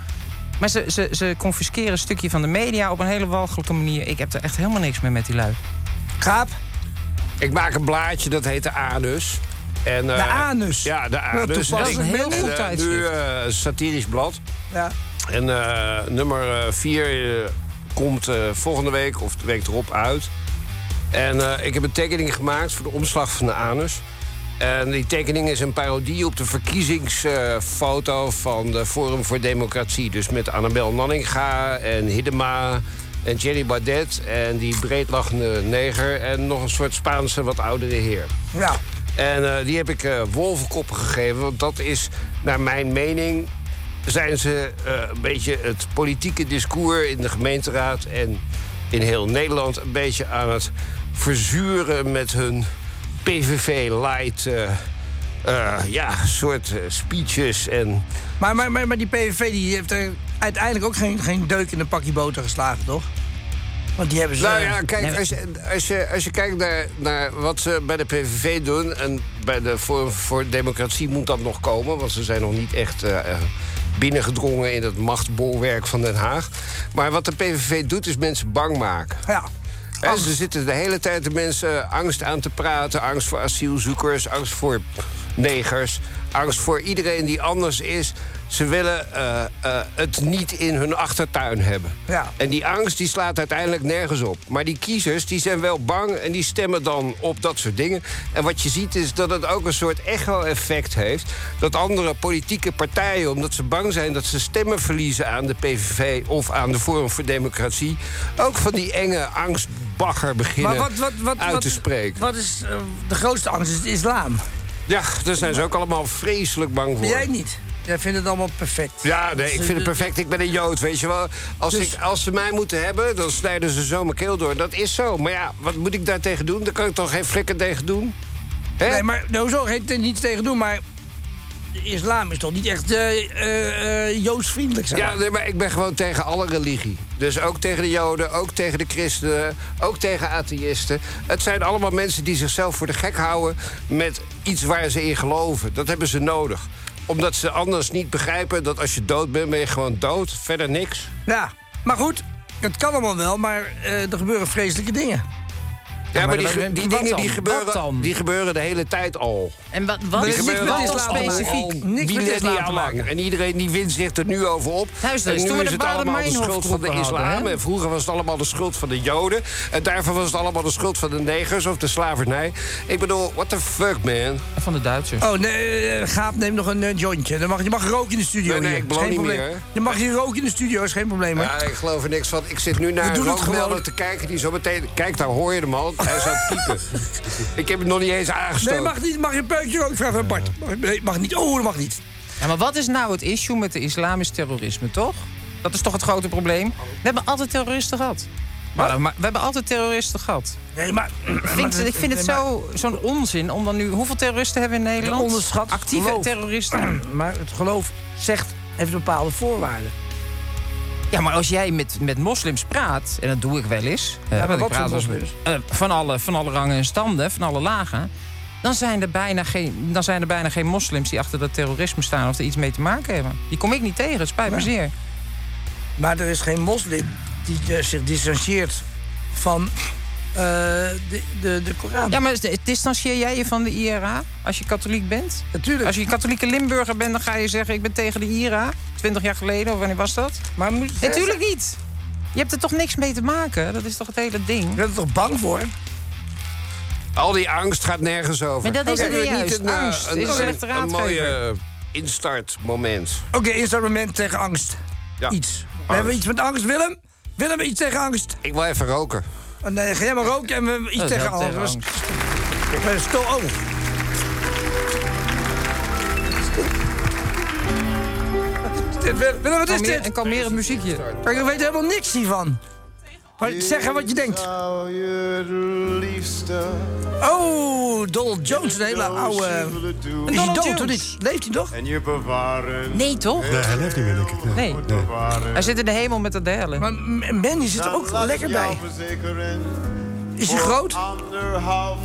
D: Maar ze, ze, ze confisceren een stukje van de media op een hele walgelijke manier. Ik heb er echt helemaal niks meer met die lui.
C: Gaap?
I: Ik maak een blaadje, dat heet de Anus. En, eh,
C: De Anus?
I: Ja, de dus
C: Nou,
I: Anus.
C: toevallig.
I: En
C: Dat is een
I: ik-
C: heel
I: en,
C: goed
I: eh, Nu
C: tijdschrift.
I: eh, satirisch blad.
C: Ja.
I: En eh, nummer 4 komt eh, volgende week of de week erop uit. En eh, ik heb een tekening gemaakt voor de omslag van de anus. En die tekening is een parodie op de verkiezingsfoto eh, van de Forum voor Democratie. Dus met Annabel Nanninga en Hiddema en Jerry Baudet en die breedlachende neger... en nog een soort Spaanse wat oudere heer.
C: Ja.
I: En eh, die heb ik eh wolvenkoppen gegeven. Want dat is, naar mijn mening, zijn ze eh, een beetje het politieke discours in de gemeenteraad en in heel Nederland een beetje aan het verzuren met hun PVV-light. eh, eh, ja, soort eh, speeches en...
C: Maar, maar, maar, maar die PVV die heeft er uiteindelijk ook geen, geen deuk in een pakje boter geslagen, toch? Want die hebben ze...
I: Nou
C: eh,
I: ja, kijk, als je, als je, als je kijkt naar, naar wat ze bij de PVV doen... en bij de Forum voor Democratie moet dat nog komen... want ze zijn nog niet echt eh, eh, binnengedrongen in het machtbolwerk van Den Haag. Maar wat de PVV doet, is mensen bang maken.
C: Ja.
I: Hè, ze zitten de hele tijd de mensen eh, angst aan te praten. Angst voor asielzoekers, angst voor negers, angst voor iedereen die anders is. Ze willen eh, eh, het niet in hun achtertuin hebben.
C: Ja.
I: En die angst die slaat uiteindelijk nergens op. Maar die kiezers die zijn wel bang en die stemmen dan op dat soort dingen. En wat je ziet is dat het ook een soort echo-effect heeft. Dat andere politieke partijen, omdat ze bang zijn dat ze stemmen verliezen aan de PVV of aan de Forum voor Democratie, ook van die enge angstbagger beginnen
C: Maar wat- wat- wat-
I: uit
C: wat-
I: te spreken.
C: Wat is eh, de grootste angst? Is de islam.
I: Ja, daar zijn ze ook allemaal vreselijk bang voor.
C: Ben jij niet? Jij vindt het allemaal perfect.
I: Ja, nee, ik vind het perfect. Ik ben een Jood, weet je wel. Als,
C: Dus-
I: ik, als ze mij moeten hebben, dan snijden ze zo mijn keel door. Dat is zo. Maar ja, wat moet ik daar tegen doen? Daar kan ik toch geen flikker tegen doen? Hè?
C: Nee, maar nou, hoezo? Heeft er niets tegen doen, maar... De islam is toch niet echt eh eh eh, joodsvriendelijk, zeg
I: Ja, nee, maar ik ben gewoon tegen alle religie. Dus ook tegen de Joden, ook tegen de christenen, ook tegen atheïsten. Het zijn allemaal mensen die zichzelf voor de gek houden met iets waar ze in geloven. Dat hebben ze nodig. Omdat ze anders niet begrijpen dat als je dood bent, ben je gewoon dood. Verder niks.
C: Ja, maar goed, het kan allemaal wel, maar eh, er gebeuren vreselijke dingen.
I: Ja, maar,
C: maar
I: die,
C: wat-
I: ge- die
C: wat
I: dingen die
C: dan?
I: gebeuren,
C: Wat dan?
I: die gebeuren de hele tijd al.
D: En wat,
C: wat- Niks met
I: al
C: islam te maken.
I: al
C: Niks met
I: millennia
C: islam te maken.
I: lang. En iedereen die wint zich er nu over op.
D: Luister
I: en
D: eens,
I: nu
D: toen we
I: is
D: de
I: het allemaal de
D: Bader-Meinhof
I: schuld van de
D: groepen hadden,
I: islam.
D: hè?
I: En vroeger was het allemaal de schuld van de joden. En daarvoor was het allemaal de schuld van de negers of de slavernij. Ik bedoel, what the fuck, man?
D: Van de Duitsers.
C: Oh, nee, eh, Gaap, neem nog een eh, jointje. Dan mag, je mag roken in de studio
I: Nee, nee,
C: hier.
I: ik beloof
C: Geen
I: niet
C: probleem.
I: meer, hè.
C: Je mag hier roken in de studio, is geen probleem. hè?
I: Ja, ik geloof er niks van. Ik zit nu
C: We
I: naar een
C: doen het
I: rookmelder
C: gewoon.
I: te kijken die zo meteen... Kijk, daar hoor je hem al. Hij zou piepen. ik heb hem nog niet eens aangestoken.
C: Nee, mag niet. Mag je een peukje roken? Vraag van Bart. Mag, nee, mag niet. Oh, dat mag niet.
D: Ja, maar wat is nou het issue met de islamisch terrorisme, toch? Dat is toch het grote probleem? We hebben altijd terroristen gehad. Oh, Maar, maar we hebben altijd terroristen gehad.
C: Nee, maar...
D: Ik vind, ik vind het
C: nee,
D: zo- zo'n onzin om dan nu... Hoeveel terroristen hebben we in Nederland?
C: onderschat
D: Actieve
C: geloof.
D: terroristen.
C: Maar het geloof zegt, heeft bepaalde voorwaarden.
D: Ja, maar als jij met, met moslims praat, en dat doe ik wel eens... eh,
C: Ja, maar
D: want ik
C: wat voor
D: als-
C: moslims?
D: eh, van, alle, van alle rangen en standen, van alle lagen... Dan zijn, er bijna geen, dan zijn er bijna geen moslims die achter dat terrorisme staan... of er iets mee te maken hebben. Die kom ik niet tegen, het spijt me zeer.
C: Maar er is geen moslim die eh, zich distancieert van eh, de, de, de Koran.
D: Ja, maar is- distancieer jij je van de IRA als je katholiek bent?
C: Natuurlijk.
D: Als je katholieke Limburger bent, dan ga je zeggen... ik ben tegen de IRA, 20 jaar geleden, of wanneer was dat?
C: Maar moet...
D: Natuurlijk niet. Je hebt er toch niks mee te maken? Dat is toch het hele ding? Je
C: bent er toch bang voor?
I: Al die angst gaat nergens over.
D: Maar dat is het
I: Hebben we
D: juist.
I: eh,
D: Angst
I: een,
D: is een slechte
I: een
D: raadgever.
I: mooie eh, instartmoment.
C: Oké, instrument tegen angst.
I: Ja.
C: Iets. We hebben iets met angst, Willem. Willem, iets tegen angst.
I: Ik wil even roken.
C: Oh, nee, ga jij maar roken en we hebben iets
I: Dat
C: Oh, tegen
I: helpt
C: angst.
I: tegen
C: Dat was- Sto oh. Wat is dit, Willem, Willem, wat is
D: Kalmeer-
C: dit?
D: Een kalmerend muziekje.
C: Maar ik weet helemaal niks hiervan. Maar zeg wat je denkt. Oh, Donald Jones, een hele oude... Is hij
D: Donald
C: dood,
D: Jones.
C: of niet? Leeft hij nog?
N: En je bewaren.
D: Nee, toch?
A: Nee, hij leeft niet meer, denk ik. Nee.
D: Nee. Hij zit in de hemel met de delen.
C: Maar M- Manny zit er ook lekker bij. Is hij groot?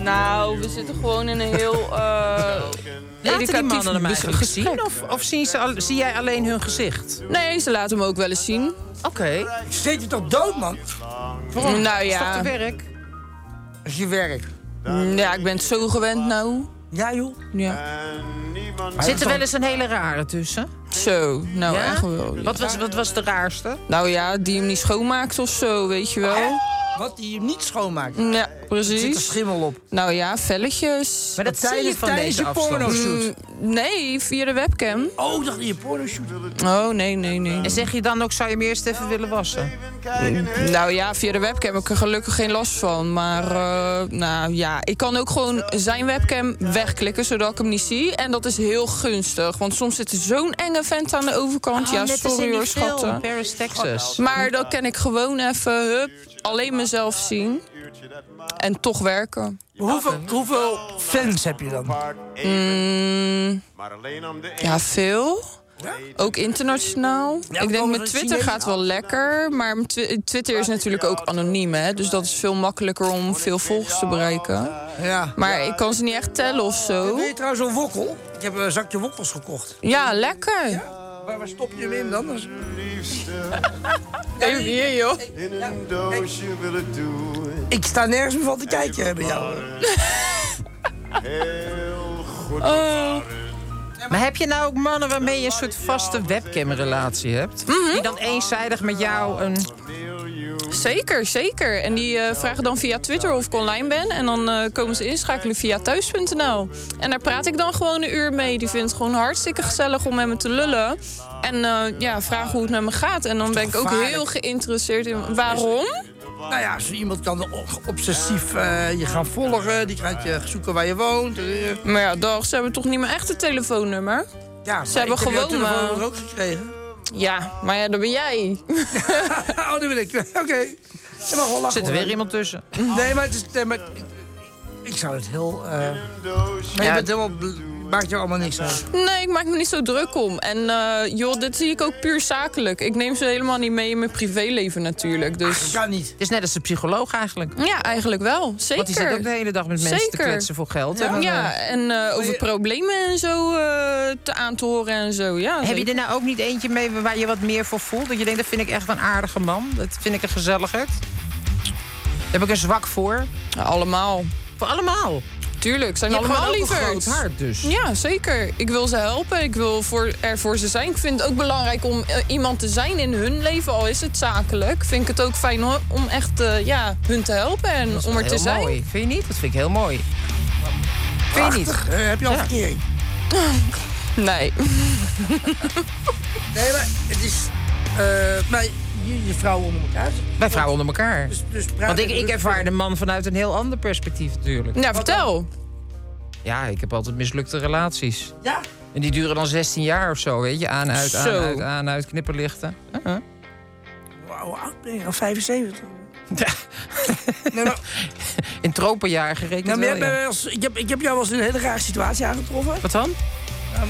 B: Nou, we zitten gewoon in een heel... eh
D: Laten die
B: educatief
D: mannen
B: bes-
D: hem eigenlijk
B: gesprek.
D: zien? Of, of zien ze al- zie jij alleen hun gezicht?
B: Nee, ze laten hem ook wel eens zien.
D: Oké.
C: Zit je toch dood, man?
B: Nou ja.
D: Is toch te werk?
C: Is je werk.
B: Ja, ik ben het zo gewend nou.
C: Ja, joh.
B: Ja.
D: Zit er wel eens een hele rare tussen?
B: Zo, nou
D: Ja?
B: echt wel. ja.
D: Wat was, wat was de raarste?
B: Nou ja, die hem niet schoonmaakt of zo, weet je wel.
C: Wat die hem niet schoonmaakt.
B: Ja,
C: Er zit er
B: precies.
C: schimmel op.
B: Nou ja, velletjes.
D: Maar dat zie je
C: tijdens-
D: van
C: tijdens
D: deze
C: je
D: afstand.
C: pornoshoot.
D: Mm.
B: Nee, via de webcam.
C: Oh, ik dacht in je pornoshoot.
B: Oh, nee, nee, nee.
D: En zeg je dan ook, zou je me eerst even willen wassen?
B: Nou ja, via de webcam heb ik er gelukkig geen last van. Maar eh, nou ja, ik kan ook gewoon zijn webcam wegklikken zodat ik hem niet zie. En dat is heel gunstig. Want soms zit er zo'n enge vent aan de overkant.
D: Oh,
B: ja, sorry hoor, schatten.
D: Paris, Texas.
B: Maar dan kan ik gewoon even, hup, alleen mezelf zien. En toch werken.
C: Hoeveel, hoeveel fans heb je dan?
B: Mm, ja, veel. Ook internationaal. ik denk, mijn Twitter gaat wel lekker. Maar mijn twi- Twitter is natuurlijk ook anoniem, hè. Dus dat is veel makkelijker om veel volgers te bereiken.
C: Ja.
B: Maar ik kan ze niet echt tellen of zo.
C: Wil je trouwens een wokkel? Ik heb een zakje wokkels gekocht.
B: Ja, lekker.
C: Waar, waar stop je hem in dan? Als-
B: Even hier, joh.
C: Ik sta nergens meer van te kijken hè, bij jou.
B: Oh.
D: Maar heb je nou ook mannen waarmee je een soort vaste webcamrelatie hebt? Die dan eenzijdig met jou een...
B: Zeker, zeker. En die eh, vragen dan via Twitter of ik online ben. En dan eh, komen ze inschakelen via thuis.nl. En daar praat ik dan gewoon een uur mee. Die vindt het gewoon hartstikke gezellig om met me te lullen. En eh, ja, vragen hoe het met me gaat. En dan ben ik ook
C: gevaarlijk?
B: heel geïnteresseerd in waarom.
C: Nou ja, zo iemand kan o- obsessief eh, je gaan volgen. Die gaat je zoeken waar je woont. eh.
B: Maar ja, dag, ze hebben toch niet mijn echte telefoonnummer?
C: Ja,
B: Ze hebben
C: ik heb jouw
B: gewoon,
C: telefoonnummer
B: eh,
C: ook gekregen.
B: Ja, maar ja, dat ben jij.
C: oh, dat wil ik. Oké. Je mag wel
D: Er
C: lachen,
D: zit er
C: hoor.
D: weer iemand tussen.
C: Nee, maar het is... Nee, maar, ik, ik zou het heel... eh, maar je
D: Ja.
C: bent helemaal bl- Maakt jou allemaal niks uit.
B: Nee, ik maak me niet zo druk om. En eh, joh, dit zie ik ook puur zakelijk. Ik neem ze helemaal niet mee in mijn privéleven natuurlijk. Dus...
C: dat kan niet.
D: Het is net als de psycholoog eigenlijk.
B: Ja, eigenlijk wel. Zeker.
D: Want die zit ook de hele dag met mensen te
B: Zeker.
D: kletsen voor geld.
B: Ja,
D: En,
B: ja,
D: eh,
B: en eh, over problemen en zo eh, te aan te horen en zo. Ja,
D: Heb je
B: zeker.
D: er nou ook niet eentje mee waar je wat meer voor voelt? Dat je denkt, dat vind ik echt een aardige man. Dat vind ik een gezelligheid. Daar heb ik een zwak voor.
B: allemaal.
D: Voor allemaal?
B: Tuurlijk, zijn
D: Je hebt
B: allemaal
D: gewoon ook een
B: lieverds.
D: groot hart dus.
B: Ja, zeker. Ik wil ze helpen. Ik wil voor, er voor ze zijn. Ik vind het ook belangrijk om eh, iemand te zijn in hun leven, al is het zakelijk. Vind ik het ook fijn hoor, om echt eh, ja, hun te helpen en
D: Dat is
B: om
D: wel
B: er te
D: heel
B: zijn.
D: Mooi. Vind je niet? Dat vind ik heel mooi. Vind je niet?
C: Eh, heb je al verkering?
B: Nee.
C: Nee, maar het is... eh maar je, je vrouwen onder elkaar.
D: Wij vrouwen onder elkaar.
C: Dus praat
D: Want ik,
C: even
D: ik
C: rustig.
D: ervaar de man vanuit een heel ander perspectief natuurlijk.
B: Nou, vertel.
D: Ja, ik heb altijd mislukte relaties.
C: Ja?
D: En die duren dan 16 jaar of zo, weet je? Aan, uit, aan,
C: Zo.
D: uit, aan, uit, knipperlichten. Uh-huh.
C: Wauw, hoe oud ben je? Al 75.
D: In tropenjaar gerekend
C: Nou, maar jij
D: wel,
C: bent
D: ja.
C: wel eens- ik, heb, ik heb jou wel eens in een hele rare situatie aangetroffen.
D: Wat dan?
C: Ehm,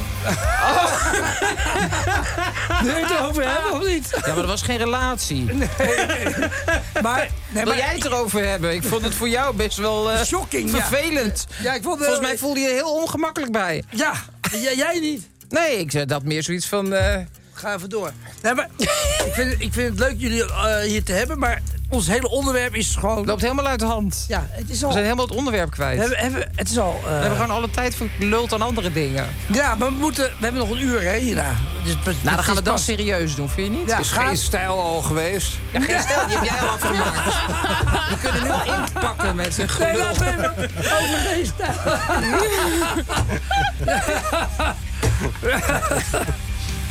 C: Wil je het erover hebben of Ah, niet?
D: Ja, maar dat was geen relatie.
C: Maar, nee,
D: Wil
C: maar
D: jij het erover hebben? Ik vond het voor jou best wel... eh,
C: Shocking, ja.
D: Vervelend.
C: Ja, ik vond het
D: Volgens
C: wel-
D: mij voelde je er heel ongemakkelijk bij.
C: Ja, j- jij niet.
D: Nee, ik zei dat meer zoiets van... eh,
C: Ga even door. Nee, maar ik, vind, ik vind het leuk jullie eh, hier te hebben, maar ons hele onderwerp is gewoon...
D: loopt helemaal uit de hand.
C: Ja, het is al...
D: We zijn helemaal het onderwerp kwijt.
C: we hebben, hebben- het is al... eh,
D: We hebben gewoon alle tijd voor lult aan andere dingen.
C: Ja, maar we, moeten, we hebben nog een uur hè, hierna. Dus,
D: Nou, dan gaan we dat serieus doen, vind je niet?
C: Ja,
D: Dus
C: ga-
D: geen-
I: Stijl al geweest.
D: Ja, geen stel, die heb jij al afgemaakt. We kunnen nu al inpakken met zijn
C: Nee,
D: gelul.
C: laten we even over deze stijl.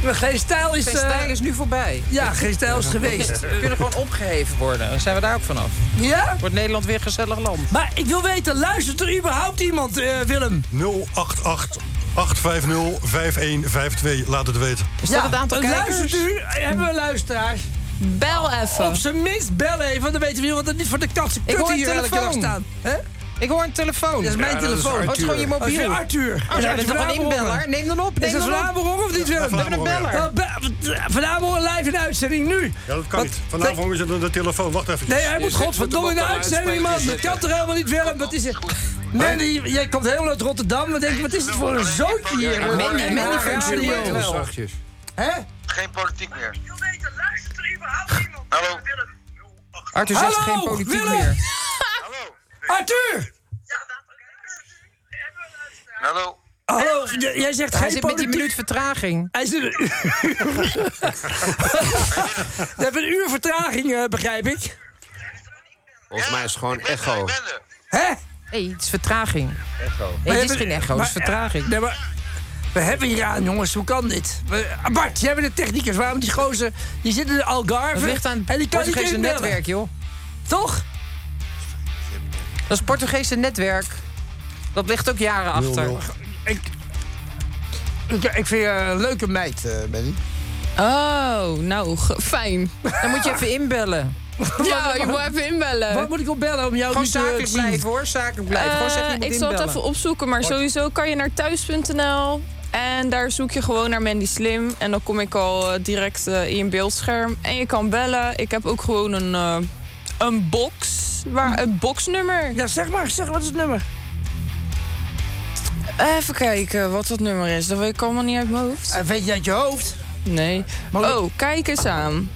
C: Geen stijl is...
D: Zijn
C: eh,
D: stijl is nu voorbij.
C: Ja, geen stijl is geweest.
D: We kunnen gewoon opgeheven worden. Dan zijn we daar ook vanaf.
C: Ja?
D: Wordt Nederland weer een gezellig land.
C: Maar ik wil weten, luistert er überhaupt iemand, eh, Willem?
A: 088 850 5152. Laat het weten.
D: Is dat het aantal kijkers?
C: Eh, Luistert u? Hebben we luisteraars?
B: Bel even.
C: Op zijn minst bel even, dan weten we wat het niet voor de katse
D: Ik hoor
C: kutten
D: een
C: hier elke dag
D: telefoon.
C: staan. Hè?
D: Ik hoor een telefoon.
C: Dat is mijn
D: Ja,
C: telefoon.
D: Oh, het is gewoon je
C: Dat is
D: mobiel.
C: weer
D: Oh,
C: Arthur. Is
D: ja,
C: dat
D: dat is toch een
C: Vlaamhoren?
D: inbeller? Neem dan op.
C: Is
D: Neem
C: dat
D: dan op.
C: Vlaamhoren of niet, Willem?
D: We hebben een beller.
C: Wel, be- eh, Vanavond live in de uitzending nu.
A: Ja, dat kan
C: Wat-
A: niet. Vanavond is het aan de telefoon. Wacht even.
C: Nee, hij moet godverdomme in de uitzending, man. Dat kan toch helemaal niet, Willem? Wat is het? Mandy, jij komt helemaal uit Rotterdam. Dan denk ik, wat is het voor een zoontje hier?
D: Mandy- Mandy
C: Radio.
D: functioneert wel.
C: Hè?
N: Geen politiek meer.
D: Arthur zegt
C: Hallo,
D: geen politiek
C: Willem.
D: meer.
C: Arthur!
N: Hallo.
C: Hallo, j- jij zegt
D: Hij
C: geen
D: zit met die
C: politiek.
D: minuut vertraging.
C: Hij zit... We hebben een uur vertraging, eh, begrijp ik.
I: Volgens mij is het gewoon echo.
C: Hè?
D: Nee, het is vertraging. Nee, het is geen echo, het is vertraging.
C: Nee, maar we hebben hier aan, jongens. Hoe kan dit? We, Bart, jij bent de technicus. Waarom die gozer... Die zit in de Algarve.
D: Dat ligt aan
C: en die
D: het
C: kan niet
D: Portugese
C: inbellen.
D: netwerk, joh.
C: Toch?
D: Dat is het Portugese netwerk. Dat ligt ook jaren achter.
C: Ik, ik vind je een leuke meid, eh Benny.
B: Oh, nou, ge- fijn.
D: Dan moet je even inbellen.
C: Oh,
B: Ja, je moet even inbellen.
C: Wat Oh, moet ik opbellen om jou
D: Gewoon
C: niet eh, te
D: zakelijk
C: zien?
D: blijven, hoor. Zakelijk blijven. Gewoon zeg
B: Eh,
D: je moet
B: ik zal
D: inbellen.
B: het even opzoeken, maar sowieso kan je naar thuis.nl. En daar zoek je gewoon naar Mandy Slim. En dan kom ik al eh, direct eh, in je beeldscherm. En je kan bellen. Ik heb ook gewoon een, eh, een box. Waar, een boxnummer.
C: Ja, zeg maar, zeg wat is het nummer?
B: Eh, Even kijken wat dat nummer is. Dat weet ik allemaal niet uit mijn hoofd.
C: Eh, weet je uit je hoofd?
B: Nee. Oh, kijk eens aan.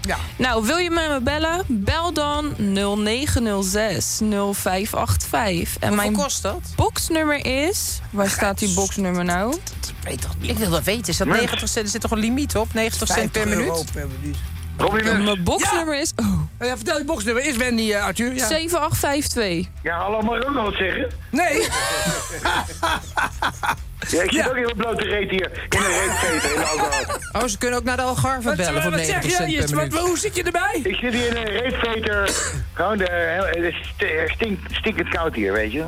C: Ja.
B: Nou, wil je met me bellen? Bel dan 0906 0585. En
D: Hoeveel
B: mijn
D: kost dat?
B: boxnummer is... Waar staat die boxnummer nou?
C: Weet toch niet.
D: Ik wil dat weten. Is dat 90 cent? Er zit toch een limiet op? 90 cent per
C: 50 euro
D: minuut?
C: per minuut.
B: Mijn boxnummer is oh,
C: Oh Ja, vertel je boxnummer. Is Wendy, eh, Arthur? Ja.
B: 7852.
G: Ja, hallo, mag ik ook nog wat zeggen?
C: Nee.
G: Ja, ik zit ook heel blote reet hier. In een reet veten, in de auto.
D: Oh, ze kunnen ook naar de Algarve
C: Wat,
D: bellen voor
C: wat
D: 90
C: zeg
D: cent
C: je?
D: per
C: Wat,
D: minuut.
C: hoe zit je erbij?
G: Ik zit hier in een reetveter. Gewoon, de, het is st- eh, stinkt- stinkend koud hier, weet je.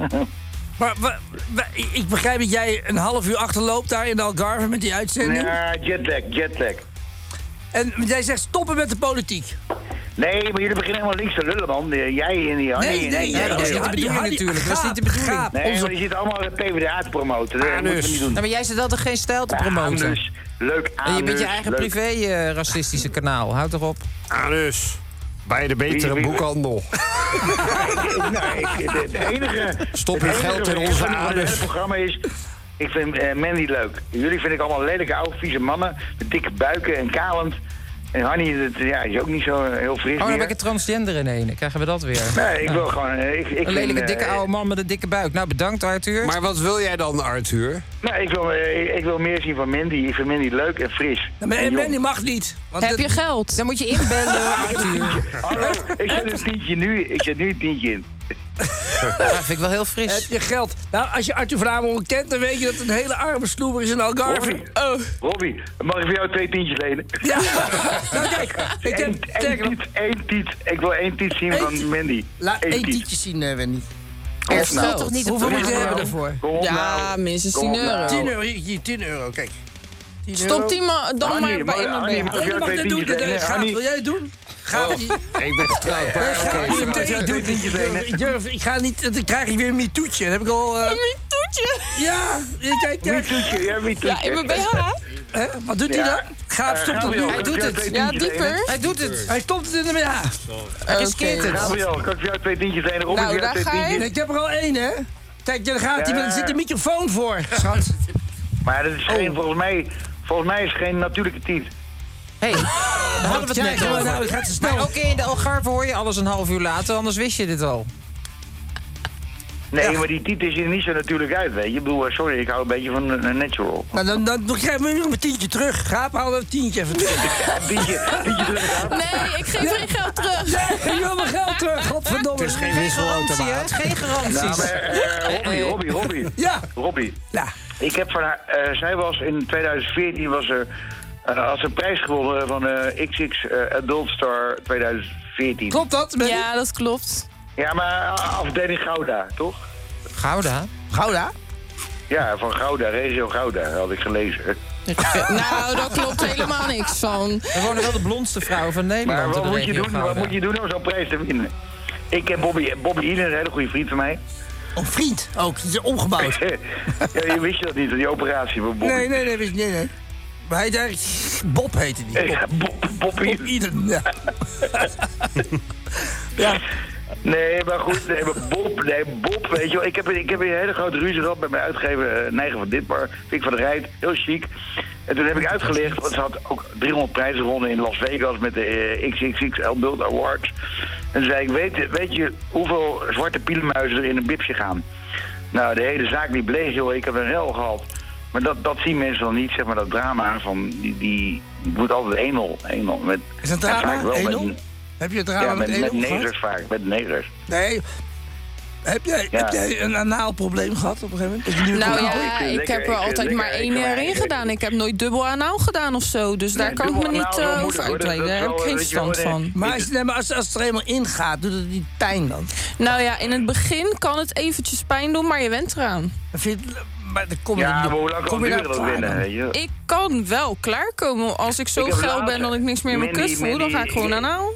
C: Maar, wa- wa- ik- ik begrijp dat jij een half uur achterloopt daar in de Algarve met die uitzending.
G: Ja, jetlag, jetlag.
C: En jij zegt stoppen met de politiek.
G: Nee, maar jullie beginnen helemaal links te lullen, man. Eh, Jij en die Harry.
C: Nee,
G: en
C: nee,
G: die-
C: nee, dat is niet de bedoeling natuurlijk. Dat is niet de bedoeling. Gaap,
G: Nee,
C: onze- Ah,
G: maar
C: dus.
G: je zit allemaal de PvdA te promoten. Dat moeten we niet doen.
D: Nou, maar jij zit altijd geen stijl te promoten.
G: Anus, leuk
D: en
G: anus.
D: je bent je eigen
G: leuk.
D: privé-racistische kanaal. Houd erop. Oh,
I: Ah, Anus. Bij de betere
D: Wie- wie-
I: boekhandel.
G: Nee, ik- het enige...
I: Stop
G: het
I: je
G: enige
I: geld in
G: wat ik
I: onze
G: van het
I: anus.
G: hele programma is... Ik vind eh Mandy leuk. Jullie vind ik allemaal lelijke, oude, vieze mannen. Met dikke buiken en kalend. En Hanny dat, ja, is ook niet zo eh, heel fris
D: Oh, dan
G: meer.
D: ben ik een transgender in één. Dan krijgen we dat weer.
G: Nee, ik
D: Ja.
G: wil gewoon... eh, Ik, ik
D: een
G: vind,
D: lelijke
G: eh,
D: dikke oude man met een dikke buik. Nou, bedankt Arthur.
I: Maar wat wil jij dan, Arthur?
G: Nee, ik wil, eh, ik, ik wil meer zien van Mandy. Ik vind Mandy leuk en fris.
C: Ja, maar
D: eh,
G: En jong.
C: Mandy mag niet. want
D: Heb
C: dat-
D: je geld? Dan moet je inbellen, Arthur.
G: Hallo, ik zet een tientje nu. Ik zet nu een tientje in.
D: Dat vind ik wel heel fris.
C: Heb je geld? Nou, als je Arthur van Amerongen kent, dan weet je dat het een hele arme snoeber is in Algarve. Oh.
G: Robbie,
D: Oh.
G: Robbie, mag ik voor jou twee tientjes lenen?
C: Ja, nou kijk, ik heb...
G: Eén één tiet, één tiet. Ik wil één tiet zien van Mandy.
C: Laat
G: Eén
C: één
G: tiet.
C: tientje zien, eh, Wendy.
D: Oh,
G: Kom op nou.
C: Hoeveel moet je
G: Kom op
C: hebben
G: nou.
C: daarvoor?
G: Kom op
B: Ja,
G: nou.
B: minstens
G: Kom op
B: 10 euro.
G: nou.
C: 10 euro, hier, hier, 10 euro, Oh, kijk. 10 euro.
B: Stop die man dan
G: Annie,
B: maar bij
G: mag-
B: iemand.
G: Annie,
B: mee.
G: mag ik jou
C: Mag
G: twee
C: dat doen?
G: tientjes
C: Dat-
G: lenen?
C: eh, Gaat,
G: Annie,
C: wil jij het doen? Gaat die...
I: Ik ben getrouwd.
C: Ja,
I: maar
C: ga-
I: oké,
C: ik-
I: maar-
C: ik-
G: twee tientjes lenen.
C: Ik durf, ik ga niet, dan krijg ik weer een mitoetje. Dan heb ik al... eh, Ja, je kijkt
G: Wie
C: daar.
G: toetje? Ja, wie
B: Ja, in mijn
G: toetje?
B: BH.
C: Hè? Wat doet hij
G: Ja.
C: dan? Gaat,
G: Eh,
C: stop dat.
G: Gabriel,
C: Hij
G: kan
C: doet
G: ik jou
C: het.
G: twee
B: Ja,
G: tientjes
B: dieper.
G: lenen?
D: Hij doet het.
C: Hij stopt het in de middag.
D: Hij riskeert het.
G: Gabriel, kan ik jou twee tientjes lenen? Robbie,
B: Nou,
G: voor jou
B: daar
G: twee
B: ga je.
G: tientjes?
C: Ik heb er al één, hè? Kijk, daar gaat hij.
G: Ja.
C: maar Er zit een microfoon voor, schat.
G: Maar dat is
C: Oh.
G: geen, volgens mij... Volgens mij is het geen natuurlijke tiet.
D: Hey, daar hadden we
C: Kijk,
D: het net
C: nou,
D: over.
C: Ah, het gaat te
D: Maar
C: snel.
D: oké, in de Algarve hoor je alles een half uur later, anders wist je dit al.
G: Nee, maar die tiet is er niet zo natuurlijk uit, weet je. Ik bedoel, eh, sorry, ik hou een beetje van een een natural.
C: Maar Nou, dan, dan, dan krijgen we weer een tientje terug. Gaap, haal dat tientje even terug.
G: Een tientje, tientje terug.
B: Nee, ik geef geen geld terug.
C: Geef je mijn geld terug, godverdomme.
I: Het is geen
D: Zie je,
I: wisselautomaat.
D: geen
G: Nou,
D: garanties.
G: maar, eh, Robbie, Robbie, Robbie.
C: Ja.
G: Robbie.
C: Ja.
G: Ik heb van haar, eh, zij was in 2014 was er, eh, had ze een prijs gewonnen van eh, XX eh, Adult Star 2014.
C: Klopt dat? Benny?
B: Ja, dat klopt.
G: Ja, maar eh, afdeling Gouda, toch?
D: Gouda?
C: Gouda?
G: Ja, van Gouda, regio Gouda, had ik gelezen.
B: Nou, daar klopt helemaal niks van.
D: Er wonen wel de blondste vrouwen van Nederland.
G: Maar wat
D: in de
G: moet, je
D: regio
G: doen, wat
D: Gouda.
G: moet je doen om zo'n prijs te winnen? Ik ken Bobby, Bobby Ielen, een hele goede vriend van mij.
C: Oh, vriend ook. Het is omgebouwd.
G: ja, je wist je dat niet, die operatie van Bobby.
C: Nee, nee, nee, nee, nee. nee. Maar hij daar... Bob heette die.
G: Ja, Bob, Bob
C: Bob
G: Ielen.
C: Iden, ja.
G: Nee, maar goed, nee, maar Bob, nee, Bob, weet je wel. Ik heb, ik heb een hele grote ruzie gehad met mijn uitgever eh, Neigen van Ditmar, Pik van der Rijt, heel chic. En toen heb ik uitgelegd, want ze had ook 300 prijzen gewonnen in Las Vegas met de eh, XXX Adult Awards. En toen zei ik, weet, weet je hoeveel zwarte pielenmuizen er in een bibsje gaan? Nou, de hele zaak die bleef, joh, ik heb een hel gehad. Maar dat, dat zien mensen dan niet, zeg maar, dat drama van, die, die moet altijd 1-0, 1-0. Met-
C: Is dat
G: en
C: drama?
G: vaak wel met-
C: 1-0? Heb je het drama
G: Ja,
C: met
G: met, met
C: 1-0 gehad?
G: negers vaak, met negers.
C: Nee. Heb jij,
G: Ja.
C: heb jij een anaalprobleem gehad op een gegeven moment? Dat je nu-
B: Nou
G: Nou, ik
B: ja,
G: vind
B: ik
G: lekker,
B: heb er
G: ik vind
B: altijd
G: lekker,
B: maar
G: ik
B: één
G: vind
B: jaar in
G: lekker.
B: gedaan. Ik heb nooit dubbel aan nou gedaan of zo. Dus daar kan ik me niet eh, over uitleiden. Daar heb ik geen verstand van.
C: Maar, als, nee, maar als, als het er eenmaal ingaat, doet het niet pijn dan?
B: Nou ja, in het begin kan het eventjes pijn doen, maar je went eraan.
C: Dan vind je, maar dan kom je
G: Ja,
C: er
G: maar
C: niet-
G: hoe lang kan
C: kom je
G: het
C: daar
G: duren dat
C: klaar
G: winnen?
C: dan?
G: weet je?
B: Ik kan wel klaarkomen. Als ik zo
G: Ik heb
B: geil
G: later-
B: ben dat ik niks meer in mijn
G: Mandy,
B: kut voel, dan ga ik
G: Mandy,
B: gewoon
G: ik-
B: aan nou.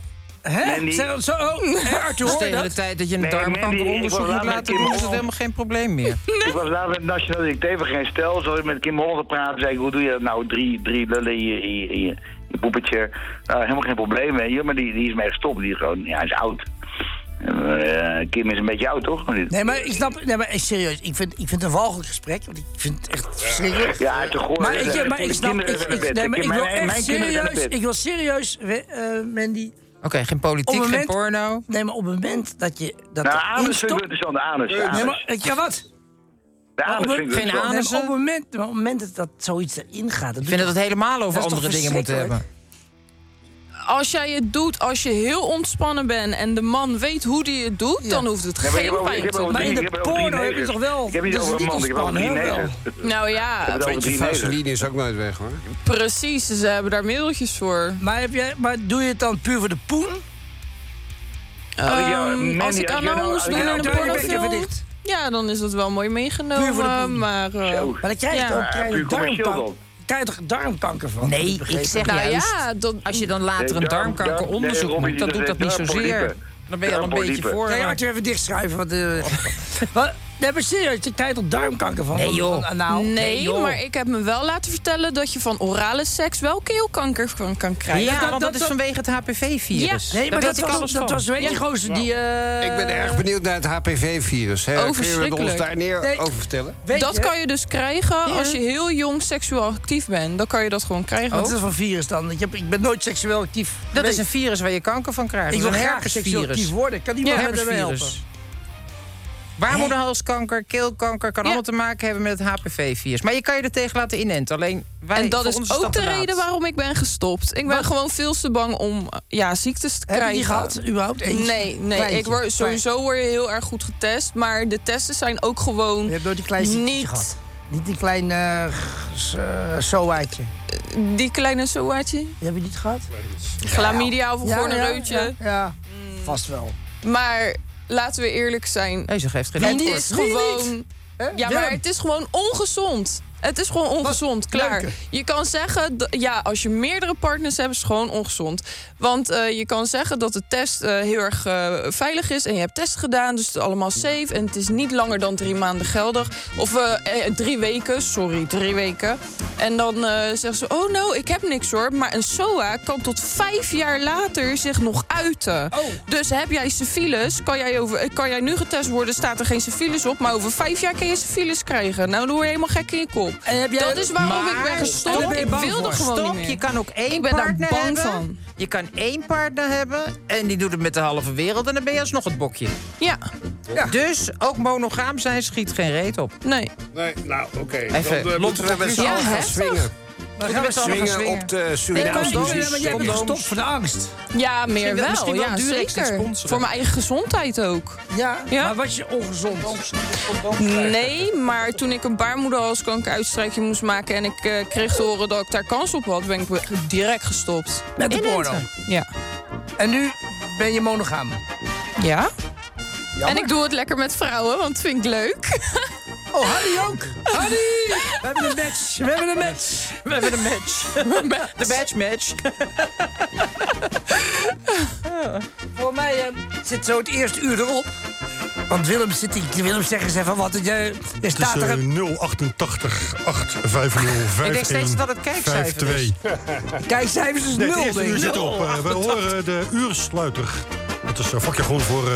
C: Hè?
G: Mandy.
C: Zeg dat zo? Oh, hè, Arthur,
D: Dus
C: hoor je
D: tegen de
C: dat?
D: tijd dat je een
G: Nee,
D: darmkankeronderzoek
G: Mandy, ik
D: moet
G: wil later
D: laten
G: met
D: doen,
G: Kim
D: is het
G: Hol.
D: helemaal geen probleem meer.
G: Ik was laatst met Nationaal Detective voor geen stel. Zo met Kim Holland gepraat. Zei ik, hoe doe je dat nou? Drie, drie lullen in je, in je, in je- je poepetje. Nou, helemaal geen probleem, weet je. Maar die, die is mee gestopt. Die is gewoon, ja, hij is oud. Eh, Kim is een beetje oud, toch?
C: Nee, maar ik snap... Nee, maar echt serieus. Ik vind, ik vind het een walgelijk gesprek. Want ik vind het echt verschrikkelijk.
G: Ja, hij heeft een goor.
C: Maar ik,
G: Eh,
C: ja, maar
G: de
C: ik snap... Ik,
G: kinderen zijn naar bed.
C: ik, nee, maar
G: Kim-
C: ik wil
G: mijn-
C: echt
G: mijn kinderen zijn naar
C: serieus...
G: bed.
C: Ik wil serieus, we- eh, Mandy...
D: Oké, geen politiek,
C: Op het
D: geen
C: moment-
D: porno.
C: Nee, maar op het moment dat je... Dat
G: Nou,
C: er
G: anus vind ik wel
C: instopt-
G: interessant. Anus, de
C: Nee,
G: anus.
C: maar... ik- oh, Ja, wat?
G: De anus vind ik wel
D: Geen
G: interessant.
C: Nee,
D: anussen?
C: maar op het moment, maar op het moment dat, dat zoiets erin gaat...
D: Ik vind dat we het helemaal over
C: Dat is toch
D: andere dingen moeten hebben.
B: Als jij het doet, als je heel ontspannen bent en de man weet hoe die het doet, dan hoeft het
G: Nee, maar ik heb
B: geen
G: over- ik
B: pijn
G: heb
B: te
G: over
C: Maar
G: drie-
C: in de
G: ik heb over drie
C: porno heb je
G: negers.
C: toch wel-
G: Ik heb niet
C: dat is
G: over een
C: niet
G: man, ik heb over drie
C: ontspannen, hè,
G: negers.
B: doen. Nou ja,
G: Ik heb over
I: Beetje
G: drie negers.
I: vaseline is ook nooit weg, hoor.
B: precies. Ze hebben daar middeltjes voor.
C: Maar, heb jij, maar doe je het dan puur voor de poen?
G: Als ik jou-
B: Ehm,
G: Mandy,
B: als ik
G: als
B: aan
G: jij nou-
B: nou
G: als
B: moest doen
G: jij
B: in
G: nou
B: een
C: doe je bek even
B: pornofilm,
C: dicht.
B: ja, dan is dat wel mooi
C: Puur voor de poen.
B: meegenomen. Maar eh,
G: Zo.
C: Maar dan krijg je
B: Ja.
C: ook
G: Ja,
C: krijg je
G: puur commercieel
C: darmkanker.
G: dan.
C: kan je toch darmkanker van?
D: Nee,
C: Heb begrepen?
D: ik zeg nou juist,
C: Ah,
D: als je dan later een darmkankeronderzoek doet, dan doet dat niet zozeer. Dan ben je al een beetje voor.
C: Nee, laten we even dichtschrijven. Want, eh, wat, nee, maar serieus, je krijgt toch darmkanker van?
D: Nee, joh.
C: Van nou, anaal?
B: nee,
C: joh.
B: maar ik heb me wel laten vertellen dat je van orale seks wel keelkanker van kan
D: Ja,
B: krijgen.
D: want dat, is vanwege het HPV-virus.
B: Ja. Nee, maar dat was- dat was, weet je,
C: Die gozer die... eh,
I: Ik ben erg benieuwd naar het HPV-virus. hè. Kun je het ons
B: Overschrikkelijk.
I: daar neer
B: Nee.
I: over vertellen?
B: dat kan je dus krijgen als je heel jong seksueel actief bent. Dan kan je dat gewoon krijgen.
C: Wat is dat voor virus dan? Ik, heb, ik ben nooit seksueel actief.
D: Dat is een virus waar je kanker van krijgt.
C: Ik
D: Dat
C: wil
D: is een
C: graag seksueel actief worden. Kan iemand me daarbij helpen?
D: Baarmoederhalskanker, keelkanker kan allemaal te maken hebben met het HPV-virus. Maar je kan je er tegen laten inenten. Alleen wij,
B: en dat
D: voor ons
B: is ook
D: dat
B: de
D: te laat.
B: reden waarom ik ben gestopt. Ik ben gewoon veel te bang om ja, ziektes te
C: Heb je die
B: krijgen.
C: gehad, überhaupt? Eentje?
B: Nee, nee.
C: Kleintje,
B: ik word, sowieso word je heel erg goed getest. Maar de testen zijn ook gewoon niet...
C: Niet die kleine uh, soaatje.
B: Die kleine soaatje?
C: Die heb je niet gehad?
B: Chlamydia of een
C: Ja,
B: gewoon
C: ja,
B: een reutje.
C: Ja, Mm. vast wel.
B: Maar laten we eerlijk zijn.
D: Nee, ze geeft geen
B: het
D: antwoord.
B: is
D: Wie niet?
B: gewoon. Ja,
D: Willem?
B: maar het is gewoon ongezond. Het is gewoon ongezond, klaar.
D: Leuke.
B: Je kan zeggen, d- ja, als je meerdere partners hebt, is het gewoon ongezond. Want eh, je kan zeggen dat de test eh, heel erg eh, veilig is en je hebt test gedaan, dus het is allemaal safe en het is niet langer dan drie maanden geldig. Of eh, eh, drie weken, sorry, drie weken. En dan eh, zeggen ze, oh nou, ik heb niks hoor. Maar een SOA kan tot vijf jaar later zich nog uiten.
D: Oh.
B: Dus heb jij syfilis, kan jij, over, eh, kan jij nu getest worden, staat er geen syfilis op. Maar over vijf jaar kan je syfilis krijgen. Nou, dan word je helemaal gek in je kop. Dat is Dus waarom ik ben
D: En
B: gestopt.
D: daar ben je
B: ik
D: bang
B: wilde
D: voor.
B: gewoon
D: Stop,
B: niet meer.
D: Je kan ook één
B: Ik ben daar
D: partner
B: bang
D: hebben.
B: van.
D: Je kan één partner hebben en die doet het met de halve wereld... en dan ben je alsnog het bokje.
B: Ja.
D: Dus ook monogaam zijn schiet geen reet op.
B: Nee.
I: Nee, nou, oké.
D: Even
I: Dan eh, moeten we met z'n
D: Ja,
I: allen gaan
D: heftig.
I: swingen.
D: We
I: gaan
D: gaan met z'n allen gaan
I: swingen
D: swingen.
I: op de
B: Ik
I: Surinaamse
B: kan niet swingen,
I: dosis.
B: maar jij bent
I: Condoom.
C: Stop voor de angst.
B: Ja, meer
C: Misschien wel-
B: wel.
C: misschien wel
B: ja,
C: Durex dit
B: zeker.
C: sponsoren.
B: Voor mijn eigen gezondheid ook.
C: Ja, maar was je ongezond?
B: Nee, maar toen ik een baarmoederhalskankeruitstrijkje moest maken... en ik eh, kreeg te horen dat ik daar kans op had... ben ik be- direct gestopt.
C: Met de
B: In
C: porno?
B: Enten. Ja.
C: En nu ben je monogaam.
B: Ja? En ik doe het lekker met vrouwen, want dat vind ik leuk.
C: Oh, Harry ook. Harry! We hebben een match. We hebben een match.
D: We hebben een match. De badge match.
C: Voor mij eh, zit zo het eerste uur erop. Want Willem zit hier. Willem zeggen ze even wat. eh, Er staat
A: Het
C: er
A: is
C: een
A: eh, 088 850
C: Ik denk steeds dat het kijkcijfer is.
A: 52.
C: Kijkcijfers is
A: Nee,
C: nul,
A: Het eerste
C: denk
A: uur
C: ik.
A: zit erop. Eh, we
C: 088.
A: horen de uursluiter. Dat is een vakje gewoon voor eh,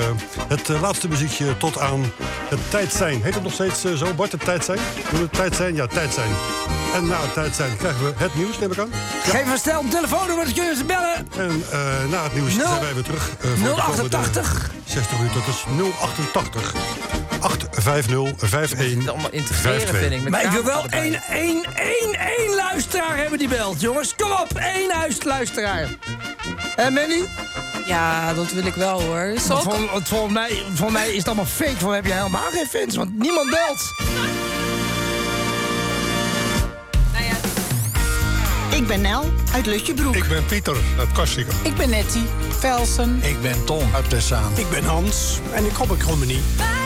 A: het eh, laatste muziekje tot aan het tijd zijn. Heet het nog steeds eh, zo, Bart? Het tijd zijn? Doen we het tijd zijn? Ja, tijd zijn. En na het tijd zijn krijgen we het nieuws, neem ik aan.
C: Geef een stel een telefoonnummer, dan kunnen ze bellen.
A: En eh, na het nieuws
C: Nul-
A: zijn wij weer terug. eh, voor De komende
C: 088.
A: 60 uur, dat is 088 850 5152.
C: Maar ik wil wel één, één, één, één luisteraar hebben die belt, jongens. Kom op, één huis- luisteraar. En Manny?
B: Ja, dat wil ik wel hoor.
C: Want vol, want volgens, mij, volgens mij is het allemaal fake. Voor heb je helemaal geen fans, want niemand belt.
K: Ik ben Nel uit Lutjebroek.
R: Ik ben Pieter uit Kastrikum.
K: Ik ben Nettie Velsen.
R: Ik ben Tom uit Tessaan. Ik ben Hans en ik kom op Krommenie.
M: Bye.